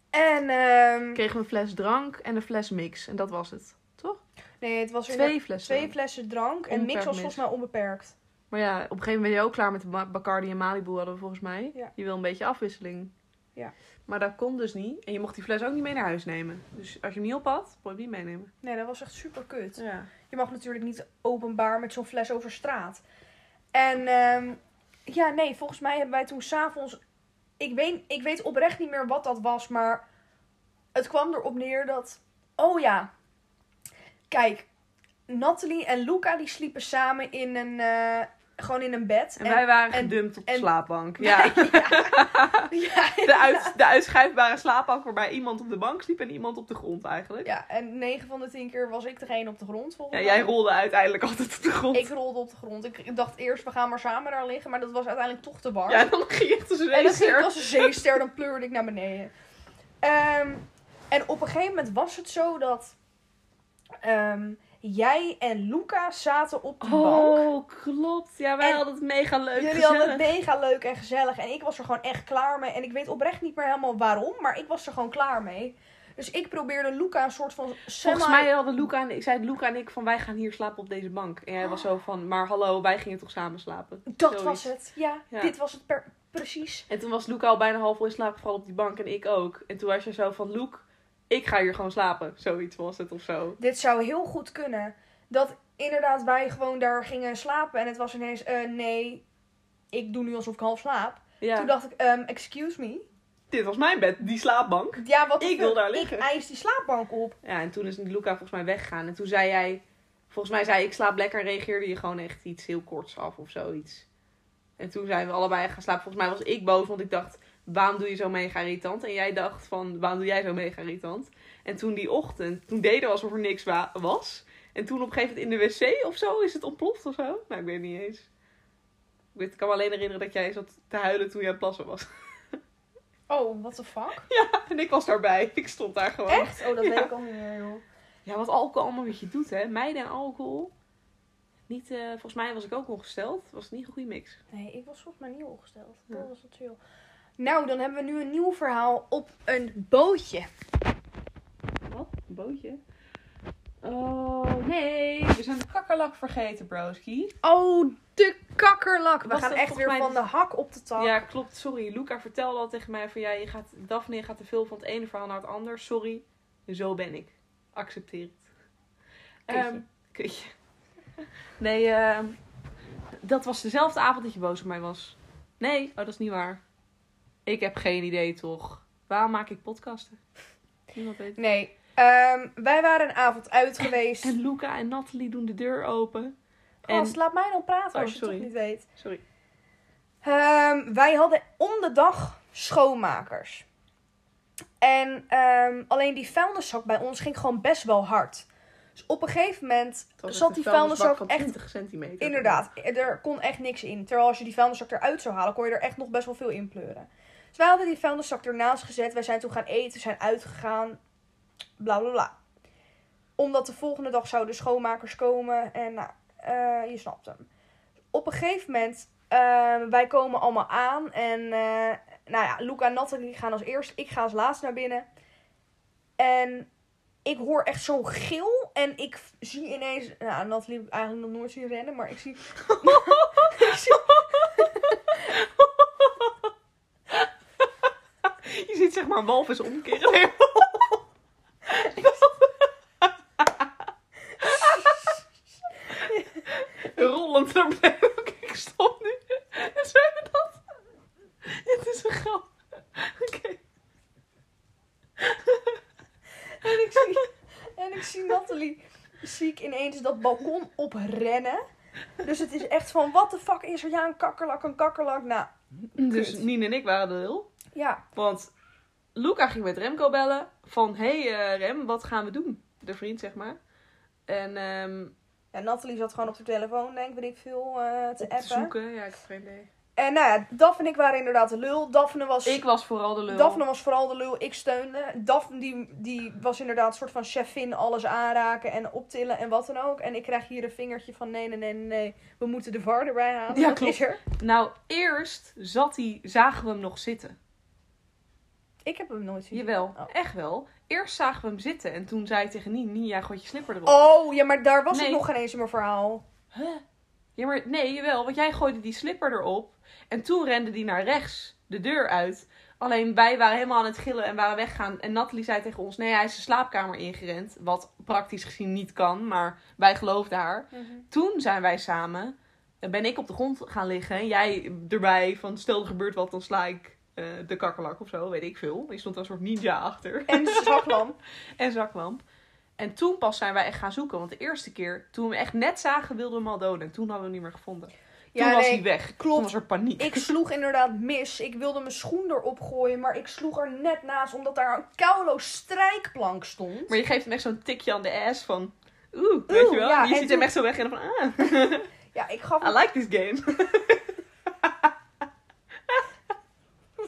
Speaker 1: En ehm,
Speaker 2: kregen we een fles drank en een fles mix. En dat was het. Toch?
Speaker 1: nee, het was inderdaad
Speaker 2: Twee flessen.
Speaker 1: twee flessen drank. En mix
Speaker 2: Onbeperkt
Speaker 1: was
Speaker 2: mis.
Speaker 1: volgens mij onbeperkt.
Speaker 2: Maar ja, op een gegeven moment ben je ook klaar met de Ma- Bacardi en Malibu hadden we volgens mij.
Speaker 1: Ja.
Speaker 2: Je wil een beetje afwisseling.
Speaker 1: Ja.
Speaker 2: Maar dat kon dus niet. En je mocht die fles ook niet mee naar huis nemen. Dus als je hem niet op had, kon je hem niet meenemen.
Speaker 1: Nee, dat was echt super kut.
Speaker 2: Ja.
Speaker 1: Je mag natuurlijk niet openbaar met zo'n fles over straat. En ehm, ja, nee, volgens mij hebben wij toen s'avonds. Ik weet, ik weet oprecht niet meer wat dat was, maar het kwam erop neer dat. Oh ja, kijk, Nathalie en Luca die sliepen samen in een. eh, gewoon in een bed.
Speaker 2: En, wij waren
Speaker 1: en-
Speaker 2: gedumpt op de
Speaker 1: en-
Speaker 2: slaapbank. Ja.
Speaker 1: [LAUGHS] Ja,
Speaker 2: De, uit, de uitschuifbare slaapbank waarbij iemand op de bank sliep en iemand op de grond eigenlijk. Ja.
Speaker 1: ja, en 9 van de 10 keer was ik degene op de grond volgens mij.
Speaker 2: jij rolde uiteindelijk altijd op de grond.
Speaker 1: Ik rolde op de grond. Ik dacht eerst, we gaan maar samen daar liggen, maar dat was uiteindelijk toch te warm.
Speaker 2: Ja, dan ging je echt tussen
Speaker 1: En dan
Speaker 2: de
Speaker 1: ging ik als een zeester, dan pleurde ik naar beneden. Ehm, en op een gegeven moment was het zo dat ehm, jij en Luca zaten op de bank.
Speaker 2: Oh, klopt. Ja, wij
Speaker 1: En
Speaker 2: hadden het mega leuk.
Speaker 1: Jullie
Speaker 2: gezellig.
Speaker 1: hadden het mega leuk en gezellig. En ik was er gewoon echt klaar mee. En ik weet oprecht niet meer helemaal waarom, maar ik was er gewoon klaar mee. Dus ik probeerde Luca een soort van semi...
Speaker 2: Volgens mij hadden Luca en ik, zei Luca en ik van wij gaan hier slapen op deze bank. En hij was zo van, maar hallo, wij gingen toch samen slapen.
Speaker 1: Dat
Speaker 2: Zoiets.
Speaker 1: was het. Ja,
Speaker 2: Ja.
Speaker 1: dit was het per- precies.
Speaker 2: En toen was Luca al bijna half in slaap gevallen op die bank en ik ook. En toen was je zo van, Luke, ik ga hier gewoon slapen. Zoiets was het of zo.
Speaker 1: Dit zou heel goed kunnen. Dat inderdaad wij gewoon daar gingen slapen. En het was ineens, eh, nee, ik doe nu alsof ik half slaap.
Speaker 2: Ja,
Speaker 1: Toen dacht ik, ehm, excuse me.
Speaker 2: dit was mijn bed, die slaapbank.
Speaker 1: Ja, wat de
Speaker 2: Ik wil
Speaker 1: fuck?
Speaker 2: daar liggen.
Speaker 1: Ik eis die slaapbank op.
Speaker 2: Ja, en toen is Luca volgens mij weggegaan. En toen zei jij, volgens mij zei ik slaap lekker en reageerde je gewoon echt iets heel korts af of zoiets. En toen zijn we allebei gaan slapen. Volgens mij was ik boos, want ik dacht, waarom doe je zo mega irritant? En jij dacht van, waarom doe jij zo mega irritant? En toen die ochtend, toen deden we alsof er niks wa- was. En toen op een gegeven moment in de wc of zo is het ontploft of zo. Nou, ik weet niet eens. Ik weet- ik kan me alleen herinneren dat jij zat te huilen toen jij aan het plassen was. [LAUGHS]
Speaker 1: Oh, what the [LAUGHS] fuck?
Speaker 2: Ja, en ik was daarbij. Ik stond daar gewoon.
Speaker 1: Echt? Oh, dat
Speaker 2: Ja.
Speaker 1: weet ik al niet meer, joh.
Speaker 2: Ja, wat alcohol allemaal met je doet, hè? Meiden en alcohol. Niet, eh, volgens mij was ik ook ongesteld. Was niet een goede mix.
Speaker 1: Nee, ik was volgens mij niet opgesteld.
Speaker 2: Ja.
Speaker 1: Dat was het chill. Nou, dan hebben we nu een nieuw verhaal op een bootje.
Speaker 2: Wat? Een bootje? Oh, nee. We zijn de kakkerlak vergeten, broski.
Speaker 1: Oh, de kakkerlak. We
Speaker 2: Was
Speaker 1: gaan
Speaker 2: dat
Speaker 1: echt
Speaker 2: volgens
Speaker 1: weer
Speaker 2: mij
Speaker 1: van
Speaker 2: de-
Speaker 1: de hak op de tak.
Speaker 2: Ja, klopt. Sorry. Luca vertelde al tegen mij van... Ja, je gaat, Daphne je gaat te veel van het ene verhaal naar het ander. Sorry. Zo ben ik. Accepteer het.
Speaker 1: Kutje.
Speaker 2: Ehm, kutje. Nee, ehm, dat was dezelfde avond dat je boos op mij was. Nee, oh, dat is niet waar. Ik heb geen idee, toch? Waarom maak ik podcasten? Niemand weet het.
Speaker 1: Nee, ehm, wij waren een avond uit geweest.
Speaker 2: En Luca en Nathalie doen de deur open. en-
Speaker 1: Gast, laat mij dan praten
Speaker 2: Oh,
Speaker 1: als je het
Speaker 2: sorry.
Speaker 1: toch niet weet.
Speaker 2: Sorry.
Speaker 1: Ehm, wij hadden om de dag schoonmakers. En ehm, alleen die vuilniszak bij ons ging gewoon best wel hard. Dus op een gegeven moment
Speaker 2: Het was
Speaker 1: zat
Speaker 2: echt
Speaker 1: die
Speaker 2: een vuilnisbak
Speaker 1: vuilniszak
Speaker 2: van
Speaker 1: echt...
Speaker 2: 20 centimeter.
Speaker 1: Inderdaad, er kon echt niks in. Terwijl als je die vuilniszak eruit zou halen, kon je er echt nog best wel veel in pleuren. Dus wij hadden die vuilniszak ernaast gezet. Wij zijn toen gaan eten, zijn uitgegaan. Bla bla bla. Omdat de volgende dag zouden schoonmakers komen. En nou, eh, je snapt hem. Op een gegeven moment, eh, wij komen allemaal aan. En eh, nou ja, Luca en Nathalie gaan als eerst. Ik ga als laatst naar binnen. En ik hoor echt zo'n gil. En ik v- zie ineens... Nou, Nathalie heb ik eigenlijk nog nooit zien rennen. Maar ik zie... [LAUGHS] ik zie
Speaker 2: [LAUGHS] Je ziet zeg maar een walvis [LAUGHS] omkeren. Rollend naar beneden. Oké, ik stop nu. Zijn we dat? Het is een grap. Oké.
Speaker 1: En ik zie Nathalie ziek ineens dat balkon oprennen. Dus het is echt van, wat de fuck is er? Ja, een kakkerlak, een kakkerlak. Nou,
Speaker 2: Dus
Speaker 1: Kut.
Speaker 2: Nien en ik waren de lul.
Speaker 1: ja.
Speaker 2: Want Luca ging met Remco bellen. Van, hé hey, eh, Rem, wat gaan we doen? De vriend, zeg maar. En ehm
Speaker 1: En Nathalie zat gewoon op de telefoon, denk weet ik veel, eh, te
Speaker 2: op te
Speaker 1: appen.
Speaker 2: zoeken. Ja, ik heb geen idee.
Speaker 1: En nou ja, Daphne en ik waren inderdaad de lul. Daphne was,
Speaker 2: Ik was vooral de lul.
Speaker 1: Daphne was vooral de lul, ik steunde. Daphne die, die was inderdaad een soort van chefin, alles aanraken en optillen en wat dan ook. En ik krijg hier een vingertje van, nee, nee, nee, nee, nee. we moeten de VAR erbij halen.
Speaker 2: Ja,
Speaker 1: Wat
Speaker 2: klopt.
Speaker 1: Is er?
Speaker 2: Nou, eerst zat hij, zagen we hem nog zitten.
Speaker 1: Ik heb hem nooit zien.
Speaker 2: Jawel,
Speaker 1: Oh.
Speaker 2: echt wel. Eerst zagen we hem zitten en toen zei hij tegen Nien, Nien, jij gooit je slipper erop.
Speaker 1: Oh, ja, maar daar was
Speaker 2: Nee.
Speaker 1: het nog geen eens in mijn verhaal.
Speaker 2: Huh? Ja, maar nee, jawel, want jij gooide die slipper erop. En toen rende die naar rechts, de deur uit. Alleen wij waren helemaal aan het gillen en waren weggaan. En Nathalie zei tegen ons, nee, hij is de slaapkamer ingerend. Wat praktisch gezien niet kan, maar wij geloofden haar. Toen zijn wij samen, eh, ben ik op de grond gaan liggen. En jij erbij van, stel er gebeurt wat, dan sla ik eh, de kakkerlak of zo, weet ik veel. Je stond als een soort ninja achter.
Speaker 1: En Zaglam.
Speaker 2: [LAUGHS] en zaklamp. En toen pas zijn wij echt gaan zoeken. Want de eerste keer, toen we hem echt net zagen, wilden we hem al doden. En toen hadden we hem niet meer gevonden.
Speaker 1: Ja,
Speaker 2: toen was
Speaker 1: nee,
Speaker 2: hij weg.
Speaker 1: klopt.
Speaker 2: Toen was er paniek.
Speaker 1: Ik sloeg inderdaad mis. Ik wilde mijn schoen erop gooien, maar ik sloeg er net naast omdat daar een koulo strijkplank stond.
Speaker 2: Maar je geeft hem echt zo'n tikje aan de ass van... Oeh, weet je wel?
Speaker 1: ja,
Speaker 2: je
Speaker 1: en
Speaker 2: ziet hem
Speaker 1: toen-
Speaker 2: echt zo weg en dan van... Ah, [LAUGHS]
Speaker 1: Ja, ik gaf
Speaker 2: I like this game. [LAUGHS]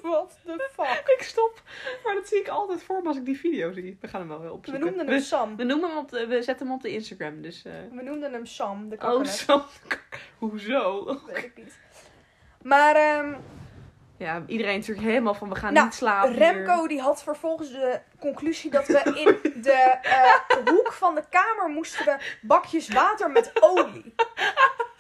Speaker 1: Wat de fuck?
Speaker 2: ik stop. Maar dat zie ik altijd voor me als ik die video zie. We gaan hem wel weer
Speaker 1: We
Speaker 2: opzoeken.
Speaker 1: noemden hem Sam.
Speaker 2: we noemen hem op de, we zetten hem op de Instagram. Dus... eh,
Speaker 1: We noemden hem Sam, de
Speaker 2: oh,
Speaker 1: kakkerlak. [LAUGHS]
Speaker 2: zo. Hoezo?
Speaker 1: Weet ik niet. Maar ehm,
Speaker 2: Ja, iedereen natuurlijk helemaal van we gaan
Speaker 1: Nou,
Speaker 2: niet slapen hier.
Speaker 1: Remco die had vervolgens de conclusie dat we in de eh, hoek van de kamer moesten we bakjes water met olie.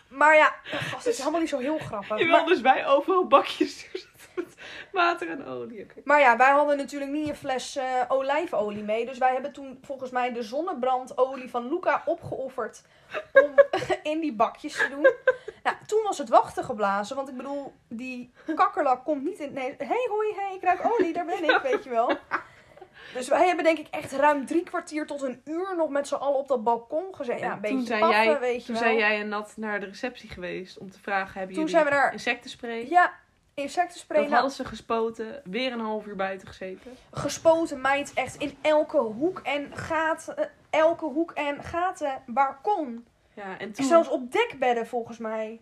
Speaker 1: Maar ja, gast, het is helemaal niet zo heel grappig.
Speaker 2: Jawel,
Speaker 1: Maar,
Speaker 2: dus wij overal bakjes [LAUGHS] met water en olie. Oké.
Speaker 1: maar ja, wij hadden natuurlijk niet een fles eh, olijfolie mee. Dus wij hebben toen volgens mij de zonnebrandolie van Luca opgeofferd om [LAUGHS] in die bakjes te doen. Nou, toen was het wachten geblazen. Want ik bedoel, die kakkerlak komt niet in... Nee, hey, hoi, hey, ik ruik olie, daar
Speaker 2: [LAUGHS]
Speaker 1: ben ik, weet je wel. Dus wij hebben denk ik echt ruim drie kwartier tot een uur nog met z'n allen op dat balkon gezeten.
Speaker 2: En
Speaker 1: Ja, een
Speaker 2: toen
Speaker 1: beetje
Speaker 2: zijn
Speaker 1: paffen,
Speaker 2: jij-
Speaker 1: weet je
Speaker 2: Toen
Speaker 1: wel.
Speaker 2: zijn jij en Nat naar de receptie geweest om te vragen: hebben
Speaker 1: Toen
Speaker 2: jullie
Speaker 1: zijn we daar-
Speaker 2: insectenspray?
Speaker 1: Ja, insectenspray.
Speaker 2: Dat
Speaker 1: nou,
Speaker 2: hadden ze gespoten, weer een half uur buiten gezeten.
Speaker 1: gespoten meid echt in elke hoek en gaten. eh, Elke hoek en gaten waar kon.
Speaker 2: Ja, en toen.
Speaker 1: En zelfs op dekbedden volgens mij.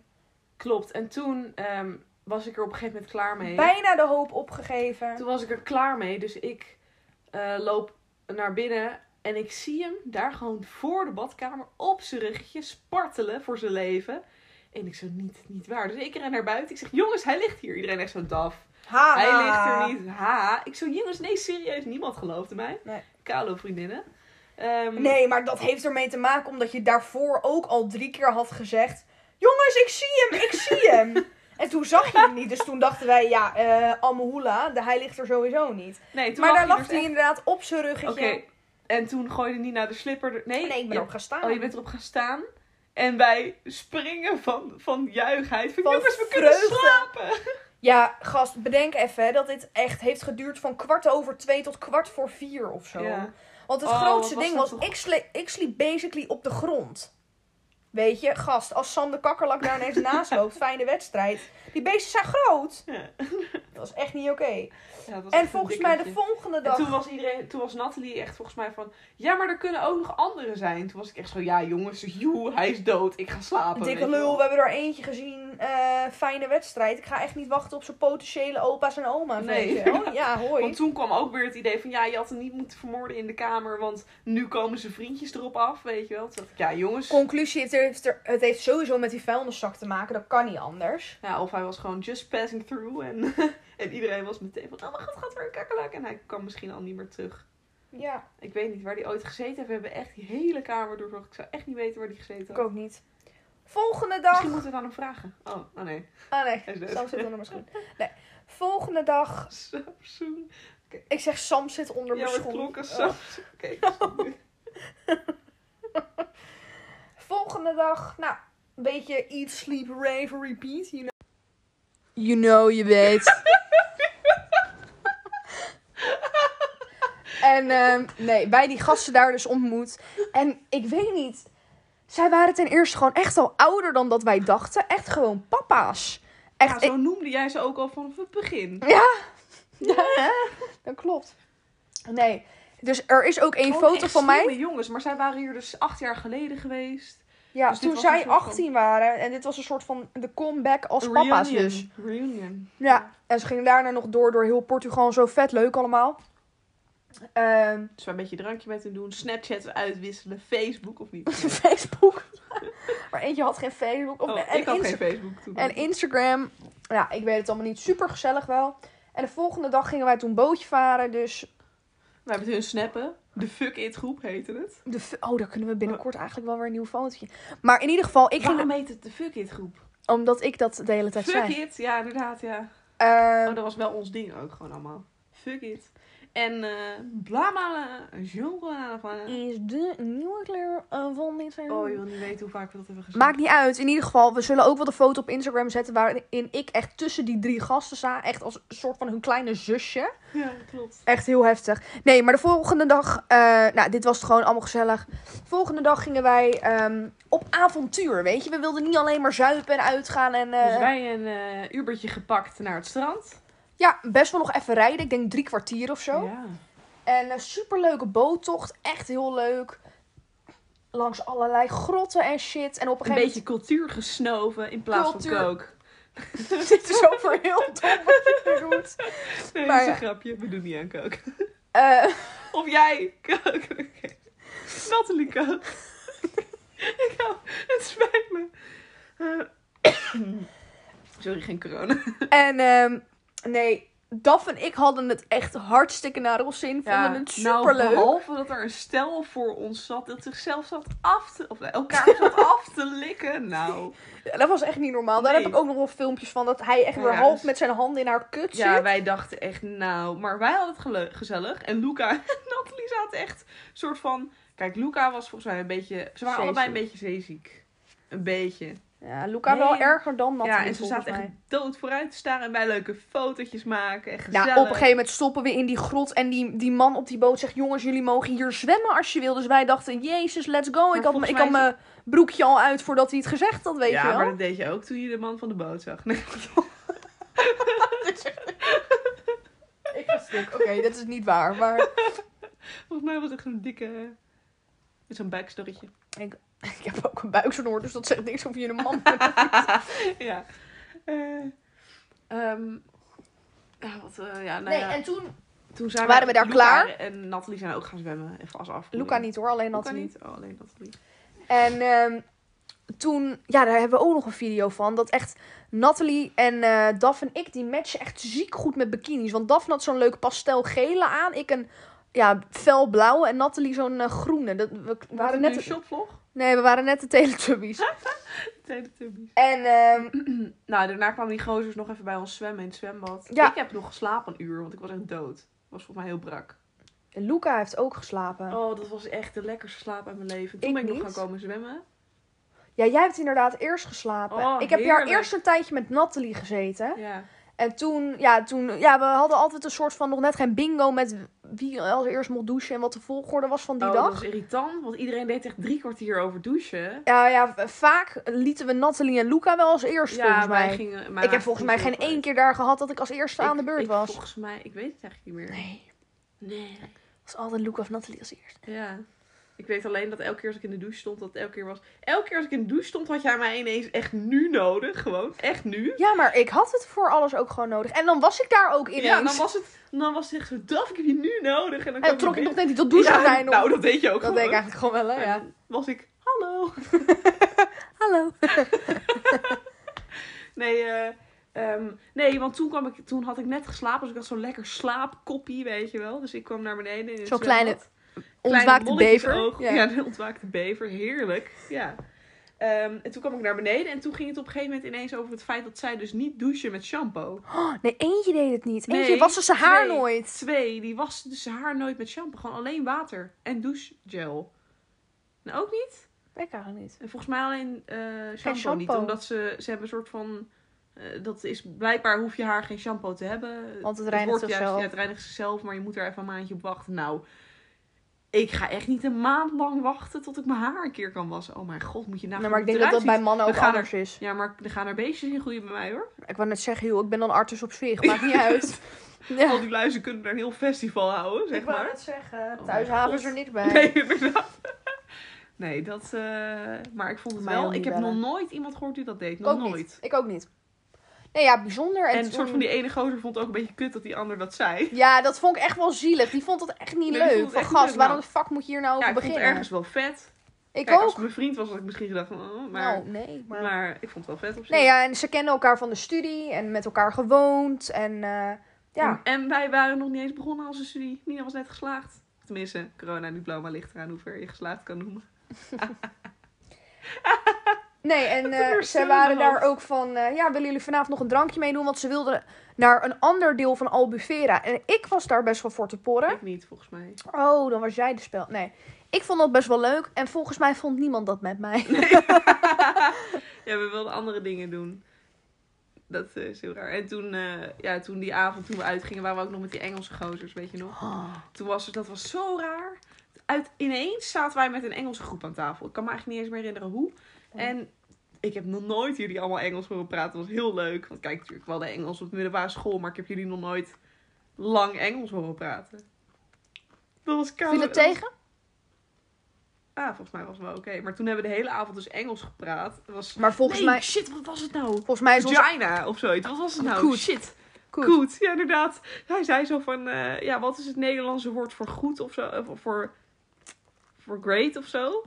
Speaker 2: Klopt. En toen ehm, was ik er op een gegeven moment klaar mee.
Speaker 1: Bijna de hoop opgegeven.
Speaker 2: Toen was ik er klaar mee, dus ik eh, loop naar binnen en ik zie hem daar gewoon voor de badkamer op zijn ruggetje spartelen voor zijn leven. En ik zo, niet, niet waar. Dus ik ren naar buiten. Ik zeg, jongens, hij ligt hier. Iedereen echt zo daf.
Speaker 1: Ha,
Speaker 2: Hij ligt
Speaker 1: ha.
Speaker 2: er niet. Ha. Ik zo, jongens, nee, serieus. Niemand geloofde mij.
Speaker 1: Nee.
Speaker 2: Kalo vriendinnen. Ehm,
Speaker 1: Nee, maar dat heeft ermee te maken omdat je daarvoor ook al drie keer had gezegd: Jongens, ik zie hem, ik
Speaker 2: [LAUGHS]
Speaker 1: zie hem. en toen zag je hem niet, dus toen dachten wij: Ja, eh Amahula, de- hij ligt er sowieso niet.
Speaker 2: nee toen
Speaker 1: maar daar lag
Speaker 2: dus
Speaker 1: hij
Speaker 2: echt-
Speaker 1: inderdaad op zijn ruggetje.
Speaker 2: Oké. En toen gooide Nina de slipper... er- Nee,
Speaker 1: Nee, ik ben
Speaker 2: je-
Speaker 1: ook gaan staan.
Speaker 2: Oh, je bent erop gaan staan. En wij springen van, van juichheid. Van,
Speaker 1: Van
Speaker 2: jongens, we kunnen
Speaker 1: vreugde.
Speaker 2: slapen.
Speaker 1: Ja, gast, bedenk even hè, dat dit echt heeft geduurd van kwart over twee tot kwart voor vier of zo.
Speaker 2: Ja.
Speaker 1: Want het
Speaker 2: Oh,
Speaker 1: grootste
Speaker 2: wat
Speaker 1: ding
Speaker 2: was
Speaker 1: was,
Speaker 2: dat
Speaker 1: ik, sle- ik sliep basically op de grond. Weet je, gast, als Sam de kakkerlak daar ineens naast
Speaker 2: [LAUGHS]
Speaker 1: loopt, fijne wedstrijd. Die beesten zijn groot.
Speaker 2: Ja.
Speaker 1: [LAUGHS] Dat was echt niet oké.
Speaker 2: Ja, dat was
Speaker 1: En
Speaker 2: echt een
Speaker 1: volgens
Speaker 2: dik
Speaker 1: mij de
Speaker 2: liedje.
Speaker 1: volgende
Speaker 2: En
Speaker 1: dag...
Speaker 2: toen was, iedereen, toen was Nathalie echt volgens mij van... Ja, maar er kunnen ook nog anderen zijn. Toen was ik echt zo... Ja, jongens, joe, hij is dood. Ik ga slapen.
Speaker 1: Dikke
Speaker 2: weet je
Speaker 1: lul,
Speaker 2: wel.
Speaker 1: we hebben er eentje gezien. eh, fijne wedstrijd. Ik ga echt niet wachten op zijn potentiële opa's en oma's.
Speaker 2: Nee.
Speaker 1: weet je wel.
Speaker 2: [LAUGHS]
Speaker 1: Ja,
Speaker 2: Want
Speaker 1: hoi.
Speaker 2: toen kwam ook weer het idee van... Ja, je had hem niet moeten vermoorden in de kamer. Want nu komen zijn vriendjes erop af, weet je wel. Toen dacht ik, ja, jongens...
Speaker 1: Conclusie, het heeft, er, het heeft sowieso met die vuilniszak te maken. Dat kan niet anders.
Speaker 2: Ja, of hij was gewoon just passing through. En, [LAUGHS] en iedereen was meteen van... Oh mijn god, gaat er een kakkerlak. En hij kwam misschien al niet meer terug.
Speaker 1: Ja,
Speaker 2: Ik weet niet waar hij ooit gezeten heeft. We hebben echt die hele kamer doorzocht. Ik zou echt niet weten waar hij gezeten
Speaker 1: ik
Speaker 2: had.
Speaker 1: ook niet. Volgende dag...
Speaker 2: Misschien moeten we het aan hem vragen. Oh, oh nee.
Speaker 1: Ah
Speaker 2: Hij
Speaker 1: nee,
Speaker 2: is
Speaker 1: [LAUGHS]
Speaker 2: dood.
Speaker 1: Sam zit onder mijn schoen. Nee. Volgende dag...
Speaker 2: Samsung.
Speaker 1: Ik zeg Sam zit onder mijn
Speaker 2: Ja, maar
Speaker 1: schoen.
Speaker 2: klokken
Speaker 1: Oh.
Speaker 2: zo. Oké, ik snap het.
Speaker 1: Volgende dag, nou, een beetje eat, sleep, rave, repeat, you know. You [LAUGHS] know, je weet. En ehm, nee, wij die gasten daar dus ontmoet. En ik weet niet. Zij waren ten eerste gewoon echt al ouder dan dat wij dachten. Echt gewoon papa's.
Speaker 2: Ja,
Speaker 1: [LAUGHS] Echt,
Speaker 2: zo noemde jij ze ook al vanaf het begin.
Speaker 1: Ja. [LAUGHS] Dat klopt. Nee. Dus er is ook één
Speaker 2: Gewoon
Speaker 1: foto
Speaker 2: Oh, echt
Speaker 1: van mij.
Speaker 2: slimme jongens, maar zij waren hier dus acht jaar geleden geweest.
Speaker 1: Ja,
Speaker 2: Dus dit
Speaker 1: toen
Speaker 2: was een
Speaker 1: zij
Speaker 2: soort van-
Speaker 1: 18 waren. En dit was een soort van de comeback als
Speaker 2: Reunion.
Speaker 1: papa's dus.
Speaker 2: Reunion.
Speaker 1: Ja. En ze gingen daarna nog door door heel Portugal. en Zo vet leuk allemaal.
Speaker 2: [LAUGHS]
Speaker 1: Ehm, [LAUGHS]
Speaker 2: Dus we een beetje drankje met hen doen, Snapchat uitwisselen, Facebook of
Speaker 1: [LAUGHS]
Speaker 2: niet?
Speaker 1: Facebook. maar eentje had geen Facebook. Of,
Speaker 2: Oh,
Speaker 1: en
Speaker 2: ik had
Speaker 1: Insta-
Speaker 2: geen Facebook toen.
Speaker 1: En Instagram, ja, ik weet het allemaal niet. Super gezellig wel. En de volgende dag gingen wij toen bootje varen. Dus
Speaker 2: We hebben hun snappen. De fuck it groep heette het.
Speaker 1: de f- oh, daar kunnen we binnenkort eigenlijk wel weer een nieuw fotootje. Maar in ieder geval, ik
Speaker 2: Ik
Speaker 1: ging
Speaker 2: Waarom heet het de fuck it groep?
Speaker 1: omdat ik dat de hele tijd
Speaker 2: Fuck
Speaker 1: zei.
Speaker 2: it, ja inderdaad ja.
Speaker 1: Ehm,
Speaker 2: Oh, dat was wel ons ding ook gewoon allemaal. Fuck it. En eh blamala, jongen.
Speaker 1: is de nieuwe kleur eh, van dit jaar.
Speaker 2: eh, Oh, je wil niet weten hoe vaak we dat hebben gezien.
Speaker 1: Maakt niet uit. In ieder geval, we zullen ook wel de foto op Instagram zetten waarin ik echt tussen die drie gasten sta. Echt als een soort van hun kleine zusje.
Speaker 2: Ja, klopt.
Speaker 1: Echt heel heftig. Nee, maar de volgende dag... eh, nou, dit was het gewoon allemaal gezellig. volgende dag gingen wij ehm, op avontuur, weet je. We wilden niet alleen maar zuipen en uitgaan en... eh,
Speaker 2: Dus wij een eh Ubertje gepakt naar het strand.
Speaker 1: Ja, best wel nog even rijden. Ik denk drie kwartier of zo.
Speaker 2: Ja.
Speaker 1: En een superleuke boottocht. Echt heel leuk. Langs allerlei grotten en shit. En op een
Speaker 2: Een
Speaker 1: gegeven
Speaker 2: beetje cultuur gesnoven in plaats
Speaker 1: Cultuur.
Speaker 2: van [LAUGHS] kook.
Speaker 1: moment... [LAUGHS] Dit is over heel dom wat je nu doet.
Speaker 2: Nee,
Speaker 1: Maar
Speaker 2: dat is een
Speaker 1: ja.
Speaker 2: grapje. We doen niet aan kook.
Speaker 1: Eh,
Speaker 2: [LAUGHS] Of jij kook. [LAUGHS] Oké. Natalie kook. [LAUGHS] Ik hou, het spijt me. Eh, [COUGHS] sorry, geen corona.
Speaker 1: en ehm, nee... Daf en ik hadden het echt hartstikke naar ons zin. Vonden het superleuk.
Speaker 2: Nou, behalve dat er een stel voor ons zat dat zichzelf zat af te... Of nee, elkaar [LAUGHS] zat af te likken. Nou.
Speaker 1: Ja, dat was echt niet normaal. Daar
Speaker 2: Nee.
Speaker 1: heb ik ook nog wel filmpjes van. Dat hij echt
Speaker 2: Ja,
Speaker 1: weer
Speaker 2: ja,
Speaker 1: half
Speaker 2: dus-
Speaker 1: met zijn handen in haar kut
Speaker 2: Ja,
Speaker 1: zit.
Speaker 2: wij dachten echt, nou, maar wij hadden het gele- gezellig. En Luca [LAUGHS] en Nathalie zaten echt soort van. Kijk, Luca was volgens mij een beetje. Ze waren
Speaker 1: Zeeziek.
Speaker 2: allebei een beetje zeeziek. Een beetje.
Speaker 1: Ja, Luca
Speaker 2: Nee.
Speaker 1: wel erger dan dat.
Speaker 2: ja, en ze zaten echt dood vooruit te staren en wij leuke fotootjes maken. En
Speaker 1: Nou,
Speaker 2: gezellig.
Speaker 1: op een gegeven moment stoppen we in die grot. En die, die man op die boot zegt: Jongens, jullie mogen hier zwemmen als je wil. Dus wij dachten: Jezus, let's go. Ik had,
Speaker 2: volgens
Speaker 1: ik
Speaker 2: mij
Speaker 1: had mijn broekje al uit voordat hij het gezegd had, weet
Speaker 2: ja,
Speaker 1: je wel.
Speaker 2: maar dat deed je ook toen je de man van de boot zag. [LAUGHS] Nee,
Speaker 1: Ik was stuk. Oké, dat is niet waar. Maar
Speaker 2: volgens mij was het echt een dikke. Met zo'n buikstorretje.
Speaker 1: [LAUGHS] ik heb ook een buiksnoor, dus dat zegt niks over je een man.
Speaker 2: ja. Eh, ehm, ah, wat, eh, ja, nou
Speaker 1: [LAUGHS] nee,
Speaker 2: ja.
Speaker 1: en toen.
Speaker 2: Toen zijn
Speaker 1: Waren we daar
Speaker 2: Luca
Speaker 1: klaar?
Speaker 2: En Nathalie zijn ook gaan zwemmen. Even als af.
Speaker 1: Luca niet hoor, alleen
Speaker 2: Luca
Speaker 1: Nathalie.
Speaker 2: niet. Oh, alleen Nathalie.
Speaker 1: En ehm, toen, ja, daar hebben we ook nog een video van. Dat echt Nathalie en eh Daf en ik, die matchen echt ziek goed met bikinis. Want Daf had zo'n leuk pastelgele aan. Ik een ja, felblauwe en Nathalie zo'n eh, groene. Dat, we, waren net,
Speaker 2: een
Speaker 1: de-
Speaker 2: shopvlog.
Speaker 1: nee, we waren net de Teletubbies.
Speaker 2: Teletubbies.
Speaker 1: en ehm,
Speaker 2: Nou, daarna kwamen die gozers nog even bij ons zwemmen in het zwembad.
Speaker 1: Ja.
Speaker 2: Ik heb nog geslapen een uur, want ik was echt dood. was volgens mij heel brak.
Speaker 1: Luca heeft ook geslapen.
Speaker 2: Oh, dat was echt de lekkerste slaap uit mijn leven. Toen
Speaker 1: Ik
Speaker 2: ben ik nog
Speaker 1: niet.
Speaker 2: gaan komen zwemmen.
Speaker 1: Ja, jij hebt inderdaad eerst geslapen.
Speaker 2: Oh,
Speaker 1: ik heb
Speaker 2: heerlijk.
Speaker 1: daar eerst een tijdje met Nathalie gezeten.
Speaker 2: Ja.
Speaker 1: En toen, ja, toen, ja, we hadden altijd een soort van nog net geen bingo met wie als eerst mocht douchen en wat de volgorde was van die
Speaker 2: oh,
Speaker 1: dag.
Speaker 2: dat was irritant, want iedereen deed echt drie kwartier over douchen.
Speaker 1: Ja, ja, v- vaak lieten we Nathalie en Luca wel als eerst, volgens mij.
Speaker 2: wij gingen... maar
Speaker 1: ik heb volgens mij geen
Speaker 2: volgens
Speaker 1: één keer daar gehad dat ik als eerste aan de
Speaker 2: Ik-
Speaker 1: beurt
Speaker 2: ik
Speaker 1: was.
Speaker 2: Volgens mij, ik weet het eigenlijk niet meer.
Speaker 1: Nee,
Speaker 2: nee.
Speaker 1: het was altijd Luca of Nathalie als eerste.
Speaker 2: Ja. Ik weet alleen dat elke keer als ik in de douche stond, dat het elke keer was. Elke keer als ik in de douche stond, had jij mij ineens echt nu nodig. Gewoon, echt nu.
Speaker 1: Ja, maar ik had het voor alles ook gewoon nodig. En dan was ik daar ook ineens.
Speaker 2: Ja, dan was het, dan was het echt zo, Daf, ik heb je nu nodig. En dan
Speaker 1: en dan
Speaker 2: kwam
Speaker 1: trok
Speaker 2: je
Speaker 1: ik nog
Speaker 2: binnen.
Speaker 1: net niet dat douchegordijn
Speaker 2: Ja,
Speaker 1: op.
Speaker 2: Nou, dat deed je ook
Speaker 1: dat deed
Speaker 2: gewoon.
Speaker 1: ik eigenlijk gewoon wel, hè?
Speaker 2: En
Speaker 1: Ja.
Speaker 2: dan was ik, hallo.
Speaker 1: Hallo.
Speaker 2: Nee, eh, ehm, nee want toen, kwam ik, toen had ik net geslapen, dus ik had zo'n lekker slaapkoppie, weet je wel. Dus ik kwam naar beneden. in het
Speaker 1: Zo'n kleine
Speaker 2: zwembad.
Speaker 1: Ontwaakte
Speaker 2: molletjes
Speaker 1: bever.
Speaker 2: oog. Ja. [LAUGHS]
Speaker 1: Ja.
Speaker 2: de ontwaakte bever. Heerlijk. Ja. Ehm, en toen kwam ik naar beneden en toen ging het op een gegeven moment ineens over het feit dat zij dus niet douchen met shampoo.
Speaker 1: Oh, nee, eentje deed het niet. Eentje
Speaker 2: Nee,
Speaker 1: was ze zijn haar
Speaker 2: twee.
Speaker 1: nooit.
Speaker 2: Twee, die waste dus haar nooit met shampoo. Gewoon alleen water en douchegel. Nou, ook niet.
Speaker 1: Ik eigenlijk niet.
Speaker 2: En volgens mij alleen eh, shampoo,
Speaker 1: shampoo.
Speaker 2: niet. Omdat ze, ze hebben een soort van... eh, dat is blijkbaar hoef je haar geen shampoo te hebben.
Speaker 1: Want het reinigt
Speaker 2: wordt juist-
Speaker 1: zichzelf.
Speaker 2: ja, het reinigt zichzelf, maar je moet er even een maandje op wachten. Nou, Ik ga echt niet een maand lang wachten tot ik mijn haar een keer kan wassen. Oh mijn god, moet je nagaan.
Speaker 1: Nee, maar ik
Speaker 2: hoe
Speaker 1: denk
Speaker 2: het
Speaker 1: dat dat bij
Speaker 2: eruit
Speaker 1: mannen
Speaker 2: We
Speaker 1: ook
Speaker 2: gaan
Speaker 1: anders is.
Speaker 2: ziet. Ja, maar er gaan er beestjes in groeien bij mij hoor.
Speaker 1: Ik wou net zeggen, joh, ik ben dan artis op zich. Maakt
Speaker 2: [LAUGHS]
Speaker 1: niet uit.
Speaker 2: Al
Speaker 1: Ja.
Speaker 2: die luizen kunnen er een heel festival houden, zeg
Speaker 1: Ik wou
Speaker 2: [LAUGHS] maar.
Speaker 1: net zeggen,
Speaker 2: Oh
Speaker 1: thuishaven
Speaker 2: mijn
Speaker 1: is er
Speaker 2: god.
Speaker 1: niks bij.
Speaker 2: Nee, inderdaad. Nee, dat... eh, maar ik vond het
Speaker 1: Mij ook
Speaker 2: wel... Ik
Speaker 1: niet
Speaker 2: heb
Speaker 1: bellen.
Speaker 2: nog nooit iemand gehoord die dat deed.
Speaker 1: ik
Speaker 2: Nog
Speaker 1: ook
Speaker 2: nooit.
Speaker 1: niet. Ik ook niet. Nee, ja, bijzonder.
Speaker 2: En een
Speaker 1: toen-
Speaker 2: soort van die ene gozer vond het ook een beetje kut dat die ander dat zei.
Speaker 1: Ja, dat vond ik echt wel zielig. Die vond het echt niet
Speaker 2: Nee, die vond
Speaker 1: leuk.
Speaker 2: het
Speaker 1: Van
Speaker 2: echt
Speaker 1: gast,
Speaker 2: leuk,
Speaker 1: waarom de
Speaker 2: nou.
Speaker 1: fuck moet je hier nou over
Speaker 2: Ja, ik vond
Speaker 1: beginnen?
Speaker 2: het ergens wel vet.
Speaker 1: Ik
Speaker 2: Kijk,
Speaker 1: ook.
Speaker 2: als het mijn vriend was, had ik misschien gedacht van... oh, maar,
Speaker 1: Nou, nee. Maar...
Speaker 2: maar... ik vond het wel vet op zich.
Speaker 1: Nee, ja, en ze kennen elkaar van de studie en met elkaar gewoond. En eh, ja,
Speaker 2: En, en wij waren nog niet eens begonnen als een studie. Nina was net geslaagd. Tenminste, corona-diploma ligt eraan hoe ver je geslaagd kan noemen.
Speaker 1: nee, en eh,
Speaker 2: gebeurt
Speaker 1: ze
Speaker 2: zo
Speaker 1: waren
Speaker 2: beloofd.
Speaker 1: daar ook van, eh, ja, willen jullie vanavond nog een drankje meedoen? Want ze wilden naar een ander deel van Albufera. En ik was daar best wel voor te porren.
Speaker 2: Ik niet, volgens mij.
Speaker 1: Oh, dan was jij de spel. Nee, ik vond dat best wel leuk. En volgens mij vond niemand dat met mij.
Speaker 2: Ja, we wilden andere dingen doen. Dat eh, is heel raar. En toen, eh, ja, toen die avond, toen we uitgingen, waren we ook nog met die Engelse gozers, weet je nog?
Speaker 1: Oh.
Speaker 2: Toen was het, dat was zo raar. Uit, ineens zaten wij met een Engelse groep aan tafel. Ik kan me eigenlijk niet eens meer herinneren hoe.
Speaker 1: Oh.
Speaker 2: En ik heb nog nooit jullie allemaal Engels horen praten. Dat was heel leuk. Want kijk, natuurlijk wel de Engels op de middelbare school. Maar ik heb jullie nog nooit lang Engels horen praten. Dat was koud.
Speaker 1: Viel het tegen?
Speaker 2: Ah, volgens mij was het wel oké. Maar toen hebben we de hele avond dus Engels gepraat. Het was...
Speaker 1: Maar volgens
Speaker 2: Nee,
Speaker 1: mij... Oh,
Speaker 2: shit, wat was het nou?
Speaker 1: Volgens mij is ons...
Speaker 2: Vagina of zoiets. Wat was het nou?
Speaker 1: Koet.
Speaker 2: Shit.
Speaker 1: Koet.
Speaker 2: Goed, ja inderdaad. Hij zei zo van, eh, ja, wat is het Nederlandse woord voor goed of zo? Eh, voor, voor great of zo?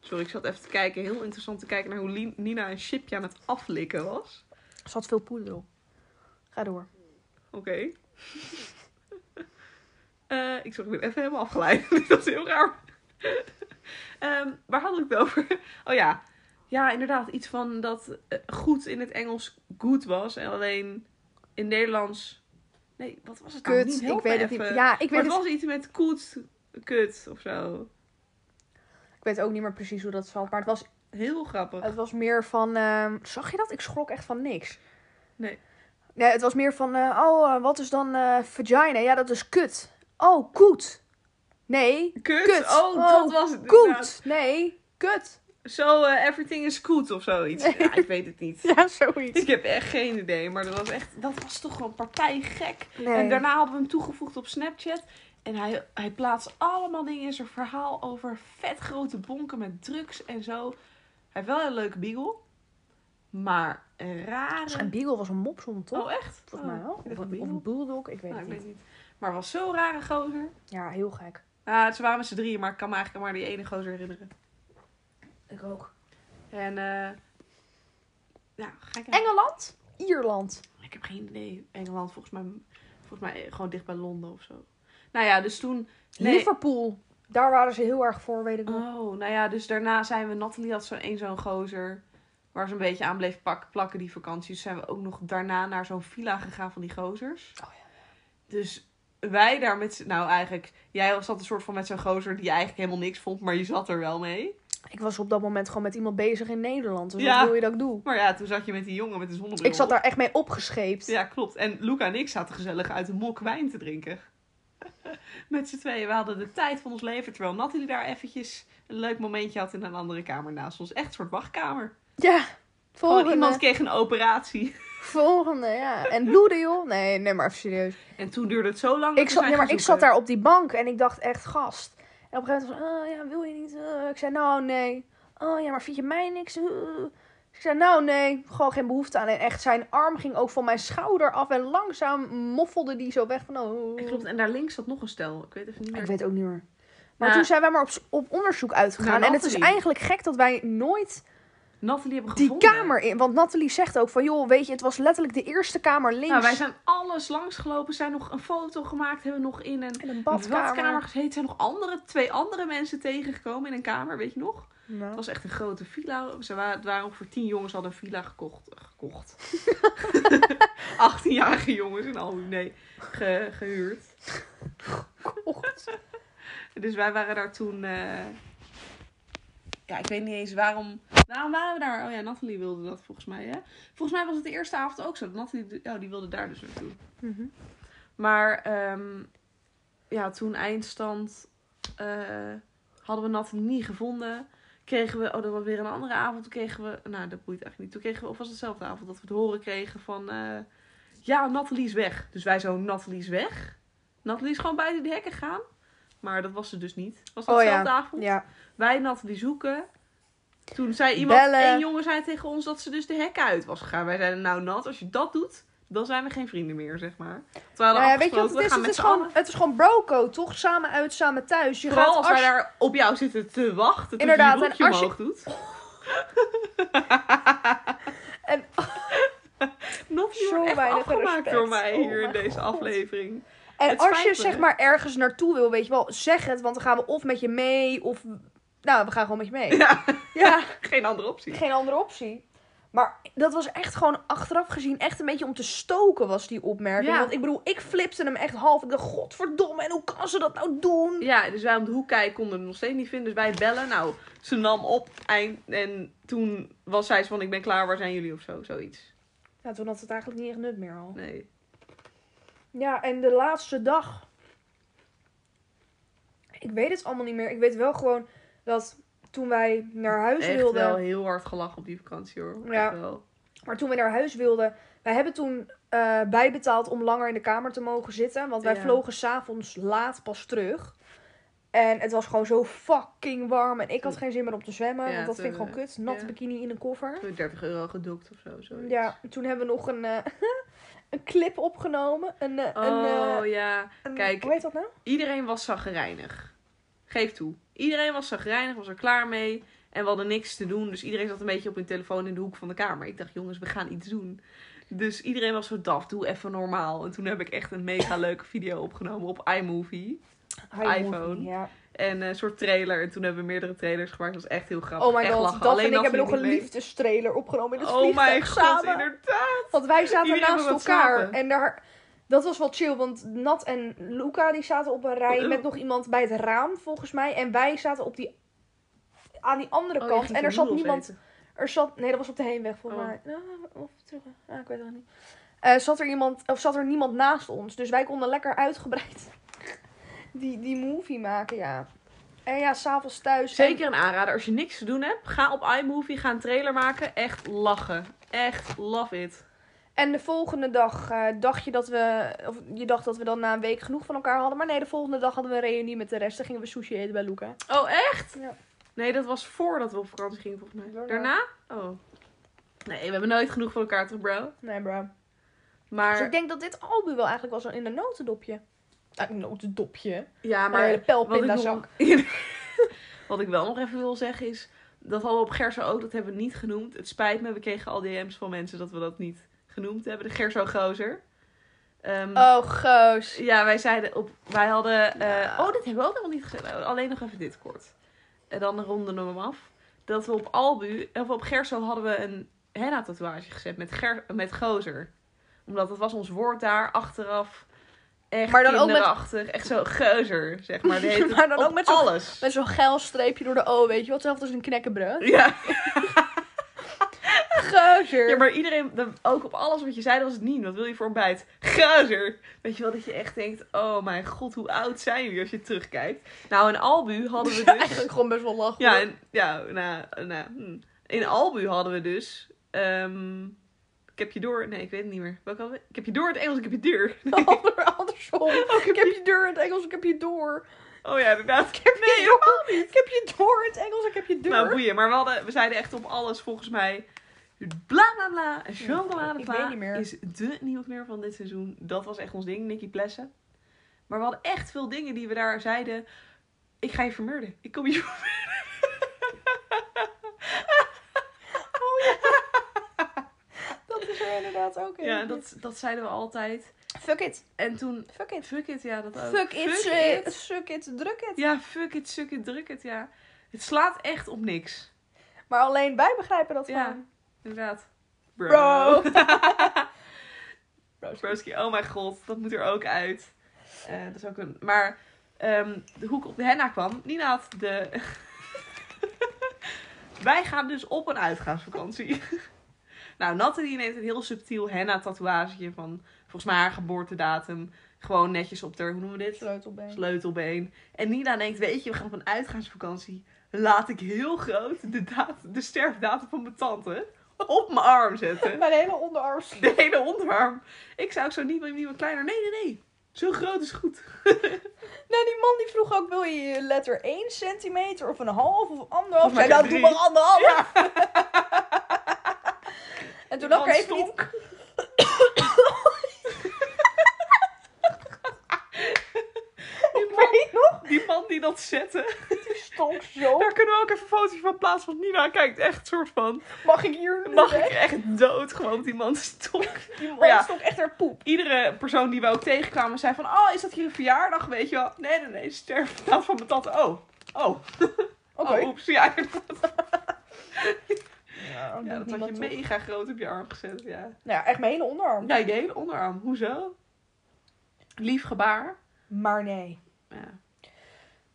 Speaker 2: Sorry, ik zat even te kijken. Heel interessant te kijken naar hoe Lien- Nina een chipje aan het aflikken was.
Speaker 1: Er zat veel poeder op. Ga door.
Speaker 2: Oké. [LAUGHS] Eh, ik zorg, ik ben even helemaal afgeleid. [LAUGHS] Dat is heel raar. Ehm, waar had ik het over? [LAUGHS] Oh ja. Ja, inderdaad. Iets van dat eh, goed in het Engels goed was. En alleen in Nederlands... Nee, wat was het nou?
Speaker 1: Kut,
Speaker 2: Niet,
Speaker 1: ik
Speaker 2: help
Speaker 1: weet
Speaker 2: me
Speaker 1: het niet.
Speaker 2: even.
Speaker 1: Ja, ik
Speaker 2: Maar
Speaker 1: weet
Speaker 2: het
Speaker 1: het,
Speaker 2: was iets met koet, kut of zo.
Speaker 1: ik weet ook niet meer precies hoe dat zat. Maar het was
Speaker 2: Heel grappig.
Speaker 1: Het was meer van. ehm, zag je dat? Ik schrok echt van niks.
Speaker 2: Nee.
Speaker 1: Nee, het was meer van. eh, oh, eh, wat is dan eh, vagina? Ja, dat is kut. Oh, koet. Nee.
Speaker 2: Kut.
Speaker 1: kut.
Speaker 2: Oh, dat
Speaker 1: Oh,
Speaker 2: was het. inderdaad.
Speaker 1: Koet. Nee. Kut.
Speaker 2: Zo, eh, everything is goed of zoiets.
Speaker 1: [LAUGHS]
Speaker 2: Ja, ik weet het niet.
Speaker 1: Ja, zoiets.
Speaker 2: [LAUGHS] Ik heb echt geen idee, maar dat was echt, dat was toch gewoon partijgek.
Speaker 1: Nee.
Speaker 2: En daarna hadden we hem toegevoegd op Snapchat. En hij, hij plaatst allemaal dingen in zijn verhaal over vet grote bonken met drugs en zo. Hij heeft wel een leuke beagle, maar een rare...
Speaker 1: Een beagle was een mopsom, toch?
Speaker 2: Oh, echt?
Speaker 1: Volgens mij wel.
Speaker 2: Oh, ik
Speaker 1: Of
Speaker 2: dacht
Speaker 1: een,
Speaker 2: een
Speaker 1: of
Speaker 2: beagle.
Speaker 1: een bulldog, ik weet
Speaker 2: Nou, ik
Speaker 1: het
Speaker 2: weet
Speaker 1: niet.
Speaker 2: het niet. Maar was zo'n rare gozer.
Speaker 1: Ja, heel gek.
Speaker 2: Ah, ze waren met z'n drieën, maar ik kan me eigenlijk maar die ene gozer herinneren.
Speaker 1: Ik ook.
Speaker 2: En, eh ja, ga ik
Speaker 1: Engeland? Ierland.
Speaker 2: Ik heb geen idee. Engeland, volgens mij, volgens mij eh, gewoon dicht bij Londen of zo. Nou ja, dus toen. Nee.
Speaker 1: Liverpool. Daar waren ze heel erg voor, weet ik nog.
Speaker 2: Oh, nou ja, dus daarna zijn we. Nathalie had zo'n één zo'n gozer. Waar ze een beetje aan bleef pak, plakken die vakantie. Dus zijn we ook nog daarna naar zo'n villa gegaan van die gozers.
Speaker 1: Oh ja.
Speaker 2: Dus wij daar met. z'n- Nou, eigenlijk. Jij zat een soort van met zo'n gozer die je eigenlijk helemaal niks vond. Maar je zat er wel mee.
Speaker 1: Ik was op dat moment gewoon met iemand bezig in Nederland. Dus
Speaker 2: Ja.
Speaker 1: wat wil je dat ik doe?
Speaker 2: Maar ja, toen zat je met die jongen met de zonnebril.
Speaker 1: Ik zat
Speaker 2: op.
Speaker 1: daar echt mee opgescheept.
Speaker 2: Ja, klopt. En Luca en ik zaten gezellig uit een mok wijn te drinken. [LAUGHS] Met z'n tweeën. We hadden de tijd van ons leven. Terwijl Nathalie daar eventjes een leuk momentje had in een andere kamer naast ons. Echt een soort wachtkamer.
Speaker 1: Ja,
Speaker 2: Gewoon
Speaker 1: volgende.
Speaker 2: Oh, iemand kreeg een operatie.
Speaker 1: Volgende, ja. En bloeden, joh. Nee, nee, maar even serieus.
Speaker 2: En toen duurde het zo lang. Oh, dat
Speaker 1: Ik
Speaker 2: we
Speaker 1: zat,
Speaker 2: zijn
Speaker 1: nee, maar
Speaker 2: gaan
Speaker 1: ik zat
Speaker 2: zoeken.
Speaker 1: daar op die bank en ik dacht echt, gast. En op een gegeven moment was, oh, ja, wil je niet? Eh, ik zei, nou, nee. Oh, ja, maar vind je mij niks? Eh. Ik zei, nou, nee. Gewoon geen behoefte aan. En echt, zijn arm ging ook van mijn schouder af. En langzaam moffelde die zo weg van, oh.
Speaker 2: En klopt. En daar links zat nog een stel. Ik weet even niet meer.
Speaker 1: Ik weet ook niet meer. Maar
Speaker 2: Nou,
Speaker 1: toen zijn wij maar op, op onderzoek uitgegaan.
Speaker 2: Nou,
Speaker 1: en het is
Speaker 2: Nathalie.
Speaker 1: eigenlijk gek dat wij nooit
Speaker 2: Nathalie hebben
Speaker 1: die
Speaker 2: gevonden.
Speaker 1: kamer in... Want Nathalie zegt ook van, joh, weet je, het was letterlijk de eerste kamer links.
Speaker 2: Nou, wij zijn alles langsgelopen. Zijn nog een foto gemaakt. Hebben nog in een
Speaker 1: in een
Speaker 2: badkamer gezeten. Zijn nog andere, twee andere mensen tegengekomen in een kamer. Weet je nog?
Speaker 1: Nou.
Speaker 2: Het was echt een grote villa. Ze waren, het waren ongeveer tien jongens hadden een villa gekocht. Gekocht. 18-jarige jongens en al. Nee, ge- gehuurd. Dus wij waren daar toen... eh, Ja, ik weet niet eens waarom... Waarom waren we daar? Oh ja, Nathalie wilde dat volgens mij, hè? Volgens mij was het de eerste avond ook zo. Nathalie oh, die wilde daar dus naartoe.
Speaker 1: Mhm.
Speaker 2: Maar ehm, ja, toen eindstand eh, hadden we Nathalie niet gevonden. Kregen we, oh, dat was weer een andere avond. Toen kregen we, nou, dat boeit eigenlijk niet. Toen kregen we, of was het dezelfde avond, dat we het horen kregen van, eh, ja, Nathalie is weg. Dus wij zo, Nathalie is weg. Nathalie is gewoon buiten de hekken gaan. Maar dat was ze dus niet. Was dat
Speaker 1: Oh ja,
Speaker 2: dezelfde avond?
Speaker 1: Ja.
Speaker 2: Wij Nathalie zoeken. Toen zei iemand,
Speaker 1: Bellen.
Speaker 2: één jongen zei tegen ons dat ze dus de hekken uit was gegaan. Wij zeiden, nou Nat, als je dat doet, dan zijn we geen vrienden meer, zeg maar. Terwijl
Speaker 1: Nou ja,
Speaker 2: hadden
Speaker 1: weet je wat het
Speaker 2: afgesproken,
Speaker 1: is?
Speaker 2: we gaan
Speaker 1: Het
Speaker 2: met
Speaker 1: is,
Speaker 2: z'n
Speaker 1: gewoon,
Speaker 2: allen-
Speaker 1: het is gewoon broco, toch? Samen uit, samen thuis. Je
Speaker 2: Vooral
Speaker 1: gaat
Speaker 2: als
Speaker 1: als-
Speaker 2: wij daar op jou zitten te wachten.
Speaker 1: Inderdaad,
Speaker 2: Inderdaad,
Speaker 1: en
Speaker 2: je broekje
Speaker 1: als je-
Speaker 2: omhoog doet.
Speaker 1: [LAUGHS] En-
Speaker 2: Nog
Speaker 1: Zo
Speaker 2: wordt echt
Speaker 1: weinig
Speaker 2: afgemaakt
Speaker 1: respect.
Speaker 2: door mij
Speaker 1: Oh
Speaker 2: hier in
Speaker 1: mijn
Speaker 2: deze
Speaker 1: God.
Speaker 2: aflevering.
Speaker 1: En
Speaker 2: Het
Speaker 1: als
Speaker 2: spijt
Speaker 1: je
Speaker 2: me.
Speaker 1: zeg maar ergens naartoe wil, weet je wel, zeg het. Want dan gaan we of met je mee, of... Nou, we gaan gewoon met je mee.
Speaker 2: Ja,
Speaker 1: ja.
Speaker 2: geen andere optie.
Speaker 1: Geen andere optie. Maar dat was echt gewoon achteraf gezien echt een beetje om te stoken was die opmerking.
Speaker 2: Ja.
Speaker 1: Want ik bedoel, ik flipte hem echt half. Ik dacht, godverdomme, en hoe kan ze dat nou doen?
Speaker 2: Ja, dus wij om de hoek kijken konden hem nog steeds niet vinden. Dus wij bellen. Nou, ze nam op. Eind, en toen was zij zo van, ik ben klaar, waar zijn jullie of zo? Zoiets.
Speaker 1: Ja, toen had het eigenlijk niet echt nut meer al.
Speaker 2: Nee.
Speaker 1: Ja, en de laatste dag. Ik weet het allemaal niet meer. Ik weet wel gewoon dat toen wij naar huis
Speaker 2: Echt
Speaker 1: wilden...
Speaker 2: wel heel hard gelachen op die vakantie hoor.
Speaker 1: Ja.
Speaker 2: Echt wel.
Speaker 1: Maar toen we naar huis wilden, wij hebben toen eh, bijbetaald om langer in de kamer te mogen zitten. Want wij
Speaker 2: Ja.
Speaker 1: vlogen s'avonds laat pas terug. En het was gewoon zo fucking warm. En ik had geen zin meer om te zwemmen.
Speaker 2: Ja,
Speaker 1: want dat
Speaker 2: toen,
Speaker 1: vind ik gewoon
Speaker 2: eh,
Speaker 1: kut. Natte
Speaker 2: ja.
Speaker 1: bikini in een koffer.
Speaker 2: 30 euro gedokt of zo. Zoiets.
Speaker 1: Ja, toen hebben we nog een, eh, [LAUGHS] een clip opgenomen. Een, eh,
Speaker 2: Oh
Speaker 1: een, eh,
Speaker 2: ja.
Speaker 1: een-
Speaker 2: kijk.
Speaker 1: Hoe heet dat nou?
Speaker 2: Iedereen was zagrijnig. Geef toe. Iedereen was zagrijnig, was er klaar mee. En we hadden niks te doen. Dus iedereen zat een beetje op hun telefoon in de hoek van de kamer. Ik dacht, jongens, we gaan iets doen. Dus iedereen was zo daf, doe even normaal. En toen heb ik echt een mega leuke video opgenomen op iMovie.
Speaker 1: High
Speaker 2: iPhone.
Speaker 1: Movie, ja.
Speaker 2: En een soort trailer. En toen hebben we meerdere trailers gemaakt. Dat was echt heel grappig.
Speaker 1: Oh my
Speaker 2: echt
Speaker 1: god,
Speaker 2: lachen.
Speaker 1: dat
Speaker 2: Alleen
Speaker 1: en ik hebben nog
Speaker 2: Nathalie
Speaker 1: een
Speaker 2: niet mee.
Speaker 1: liefdestrailer opgenomen in het
Speaker 2: Oh
Speaker 1: vliegtuig
Speaker 2: mijn god,
Speaker 1: samen. Oh,
Speaker 2: inderdaad.
Speaker 1: Want wij zaten
Speaker 2: Iedereen
Speaker 1: naast
Speaker 2: wil wat
Speaker 1: elkaar.
Speaker 2: slapen.
Speaker 1: En daar, dat was wel chill. Want Nat en Luca die zaten op een rij
Speaker 2: Oh.
Speaker 1: met nog iemand bij het raam, volgens mij. En wij zaten op die, aan die andere
Speaker 2: Oh, je
Speaker 1: kant.
Speaker 2: ging
Speaker 1: En er
Speaker 2: toen
Speaker 1: zat
Speaker 2: noedels
Speaker 1: niemand.
Speaker 2: eten.
Speaker 1: Er zat, nee, dat was op de heenweg volgens
Speaker 2: Oh.
Speaker 1: mij. Nou, of terug. Ah, ik weet het nog niet. Eh, zat, er iemand, of zat er niemand naast ons. Dus wij konden lekker uitgebreid [LAUGHS] die, die movie maken, ja. En ja, s'avonds thuis.
Speaker 2: Zeker een aanrader. Als je niks te doen hebt, ga op iMovie, ga een trailer maken. Echt lachen. Echt love it.
Speaker 1: En de volgende dag eh, dacht je dat we. Of je dacht dat we dan na een week genoeg van elkaar hadden. Maar nee, de volgende dag hadden we een reunie met de rest. Dan gingen we sushi eten bij Luca.
Speaker 2: Oh, echt?
Speaker 1: Ja.
Speaker 2: Nee, dat was voordat we op vakantie gingen, volgens mij.
Speaker 1: Daarna.
Speaker 2: Daarna? Oh. Nee, we hebben nooit genoeg van elkaar, toch, bro?
Speaker 1: Nee, bro. Dus
Speaker 2: Maar,
Speaker 1: ik denk dat dit album wel eigenlijk was in een notendopje. Ah, een notendopje.
Speaker 2: ja,
Speaker 1: Maar een hele
Speaker 2: maar...
Speaker 1: pijlpindazak.
Speaker 2: nog- [LAUGHS] wat ik wel nog even wil zeggen is... Dat hadden we op Gerso ook, dat hebben we niet genoemd. Het spijt me, we kregen al DM's van mensen dat we dat niet genoemd hebben. De Gerso Gozer. Ehm,
Speaker 1: Oh, goos.
Speaker 2: Ja, wij zeiden op. Wij hadden. eh,
Speaker 1: Ja.
Speaker 2: Oh, dit hebben we ook nog niet gezegd. Alleen nog even dit kort. En dan ronden we hem af. Dat we op Albu, of op Gerso hadden we een henna-tatoeage gezet met, ger, met gozer. Omdat dat was ons woord daar achteraf. Echt
Speaker 1: Maar
Speaker 2: maar
Speaker 1: dan ook met-
Speaker 2: Echt zo gozer, zeg
Speaker 1: [LAUGHS]
Speaker 2: maar. Die heette
Speaker 1: Maar dan
Speaker 2: op
Speaker 1: ook met zo'n-
Speaker 2: alles.
Speaker 1: Met zo'n geil streepje door de O, weet je wat? Hetzelfde als een knekkenbreuk.
Speaker 2: [LAUGHS] Ja.
Speaker 1: Geuzer.
Speaker 2: ja, maar iedereen, de- ook op alles wat je zei, dat was het niet. Wat wil je voor ontbijt? Gozer! Weet je wel, dat je echt denkt, oh mijn god, hoe oud zijn jullie als je terugkijkt? Nou, in Albu hadden
Speaker 1: [LAUGHS]
Speaker 2: we dus...
Speaker 1: Eigenlijk gewoon best wel lachen. [LAUGHS]
Speaker 2: Ja,
Speaker 1: hoor.
Speaker 2: en, ja nou, nou, hm. in Albu hadden we dus. ehm, ik heb je door. Nee, ik weet het niet meer. Welke hadden we? Ik heb je door in het Engels, ik heb je deur.
Speaker 1: Ander, [LAUGHS] andersom. Oh, ik heb je deur in het Engels, ik heb je door.
Speaker 2: [LAUGHS] Oh ja, inderdaad.
Speaker 1: nee, helemaal niet. Ik heb je door in het Engels, ik heb je deur.
Speaker 2: [LAUGHS] Nou, boeien. Maar we, hadden, we zeiden echt op alles volgens mij. Bla bla bla. En chocolade
Speaker 1: Ik weet niet meer.
Speaker 2: is de nieuwsmeer van dit seizoen. Dat was echt ons ding, Nicky Plessen. Maar we hadden echt veel dingen die we daar zeiden. Ik ga je vermurden. Ik kom je [LAUGHS] Oh,
Speaker 1: [LAUGHS] dat is er inderdaad ook in.
Speaker 2: Ja, dat, dat zeiden we altijd.
Speaker 1: Fuck it.
Speaker 2: En toen.
Speaker 1: Fuck it.
Speaker 2: Fuck it, ja, dat ook.
Speaker 1: Fuck it,
Speaker 2: Nou, it.
Speaker 1: shit, suck it, druk it.
Speaker 2: Ja, fuck it, suck it, druk het, ja. Het slaat echt op niks.
Speaker 1: Maar alleen wij begrijpen dat
Speaker 2: Ja.
Speaker 1: gewoon.
Speaker 2: Inderdaad.
Speaker 1: Bro.
Speaker 2: [LAUGHS] Broski, oh mijn god, dat moet er ook uit. Eh, dat is ook een... Maar ehm, de hoek op de henna kwam. Nina had de... [LAUGHS] Wij gaan dus op een uitgaansvakantie. [LAUGHS] nou, Natte die neemt een heel subtiel henna tatoeage van volgens mij haar geboortedatum. Gewoon netjes op de, hoe noemen we dit?
Speaker 1: Sleutelbeen.
Speaker 2: Sleutelbeen. En Nina denkt, weet je, we gaan op een uitgaansvakantie. Laat ik heel groot de, datum, de sterfdatum van mijn tante op mijn arm
Speaker 1: [LAUGHS]
Speaker 2: zetten.
Speaker 1: Mijn hele onderarm.
Speaker 2: De hele onderarm. Ik zou ook zo niet met iemand kleiner. Nee, nee, nee. Zo groot is goed.
Speaker 1: Nou, die man die vroeg ook, wil je letter 1 centimeter of een half of anderhalf?
Speaker 2: Of
Speaker 1: Ik zei, nou, doe
Speaker 2: maar Oh drie.
Speaker 1: maar anderhalf.
Speaker 2: Ja.
Speaker 1: [LAUGHS] En toen lag ik er even niet...
Speaker 2: Stonk.
Speaker 1: [LAUGHS] Ik weet nog,
Speaker 2: Die man die dat zette.
Speaker 1: die stonk zo.
Speaker 2: Daar kunnen we ook even foto's van plaatsen. Want Nina kijkt echt soort van...
Speaker 1: Mag ik hier nu
Speaker 2: Mag
Speaker 1: weg?
Speaker 2: ik echt dood gewoon want die man stonk.
Speaker 1: Die man
Speaker 2: Maar ja.
Speaker 1: stonk echt naar poep.
Speaker 2: Iedere persoon die we ook tegenkwamen zei van... Oh, is dat hier een verjaardag? Weet je wel? Nee, nee, nee. Sterfdatum van mijn tante. Oh. Oh.
Speaker 1: Oké.
Speaker 2: Oh, oeps. Ja, inderdaad.
Speaker 1: Ja,
Speaker 2: Ja, dat had je
Speaker 1: mee.
Speaker 2: mega groot op je arm gezet. Ja.
Speaker 1: Nou ja, echt mijn hele onderarm.
Speaker 2: Nee, je hele onderarm. Hoezo? Lief gebaar.
Speaker 1: Maar nee.
Speaker 2: Ja.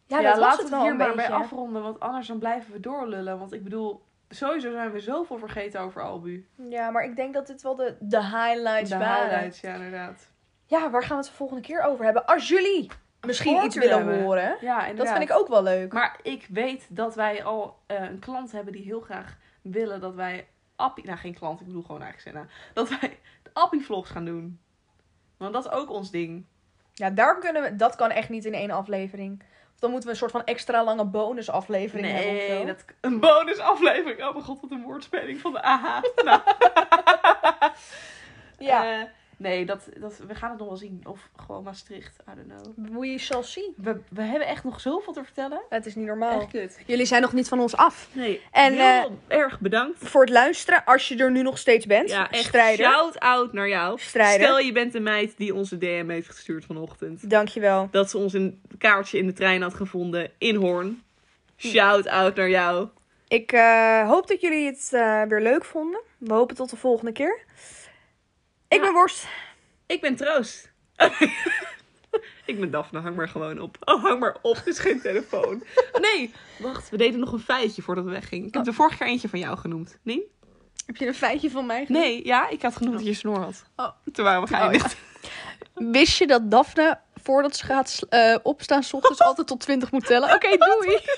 Speaker 1: Ja, dat
Speaker 2: laten
Speaker 1: was
Speaker 2: we
Speaker 1: het wel
Speaker 2: hier
Speaker 1: een
Speaker 2: maar
Speaker 1: beetje.
Speaker 2: bij afronden, want anders dan blijven we doorlullen. Want ik bedoel, sowieso zijn we zoveel vergeten over Albu.
Speaker 1: Ja, maar ik denk dat dit wel de, de highlights
Speaker 2: De
Speaker 1: waren.
Speaker 2: highlights, ja inderdaad.
Speaker 1: Ja, waar gaan we het de volgende keer over hebben? Als jullie misschien iets willen
Speaker 2: hebben.
Speaker 1: horen.
Speaker 2: Ja,
Speaker 1: Dat
Speaker 2: inderdaad.
Speaker 1: vind ik ook wel leuk.
Speaker 2: Maar ik weet dat wij al eh, een klant hebben die heel graag willen dat wij appie... Nou, geen klant, ik bedoel gewoon eigenlijk Senna. Dat wij de appie-vlogs gaan doen. Want dat is ook ons ding.
Speaker 1: Ja, daar kunnen we, dat kan echt niet in één aflevering. Of dan moeten we een soort van extra lange bonusaflevering hebben. of
Speaker 2: Nee,
Speaker 1: zo.
Speaker 2: dat, een bonusaflevering. Oh mijn god, wat een woordspeling van de AH. [LAUGHS] Nou,
Speaker 1: Ja,
Speaker 2: eh, nee, dat, dat, we gaan het nog wel zien. Of gewoon Maastricht, I don't know.
Speaker 1: we shall see.
Speaker 2: We, we hebben echt nog zoveel te vertellen.
Speaker 1: Het is niet normaal.
Speaker 2: Echt kut. eh,
Speaker 1: Jullie zijn nog niet van ons af.
Speaker 2: Oh. Nee,
Speaker 1: En,
Speaker 2: heel erg bedankt.
Speaker 1: Voor het luisteren, als je er nu nog steeds bent.
Speaker 2: Ja, echt
Speaker 1: strijder.
Speaker 2: shout-out naar jou.
Speaker 1: Strijder.
Speaker 2: Stel, je bent de meid die onze DM heeft gestuurd vanochtend.
Speaker 1: Dankjewel.
Speaker 2: Dat ze ons een kaartje in de trein had gevonden in Hoorn. Shout-out naar jou.
Speaker 1: Ik eh, hoop dat jullie het eh, weer leuk vonden. We hopen tot de volgende keer. Ik
Speaker 2: Ja.
Speaker 1: ben Worst.
Speaker 2: Ik ben Troost. [LAUGHS] Ik ben Daphne, hang maar gewoon op. Oh, hang maar op, het is geen telefoon. Nee, wacht, we deden nog een feitje voordat we weggingen. Ik heb de vorige keer eentje van jou genoemd, niet?
Speaker 1: Heb je een feitje van mij
Speaker 2: Nee, ja, ik had genoemd dat je snor had.
Speaker 1: Oh.
Speaker 2: Toen waren we geëindigd.
Speaker 1: Wist je [LAUGHS]
Speaker 2: [LAUGHS]
Speaker 1: dat Daphne, voordat ze gaat sl- eh, opstaan, s ochtends altijd tot 20 moet tellen? Oké, doei.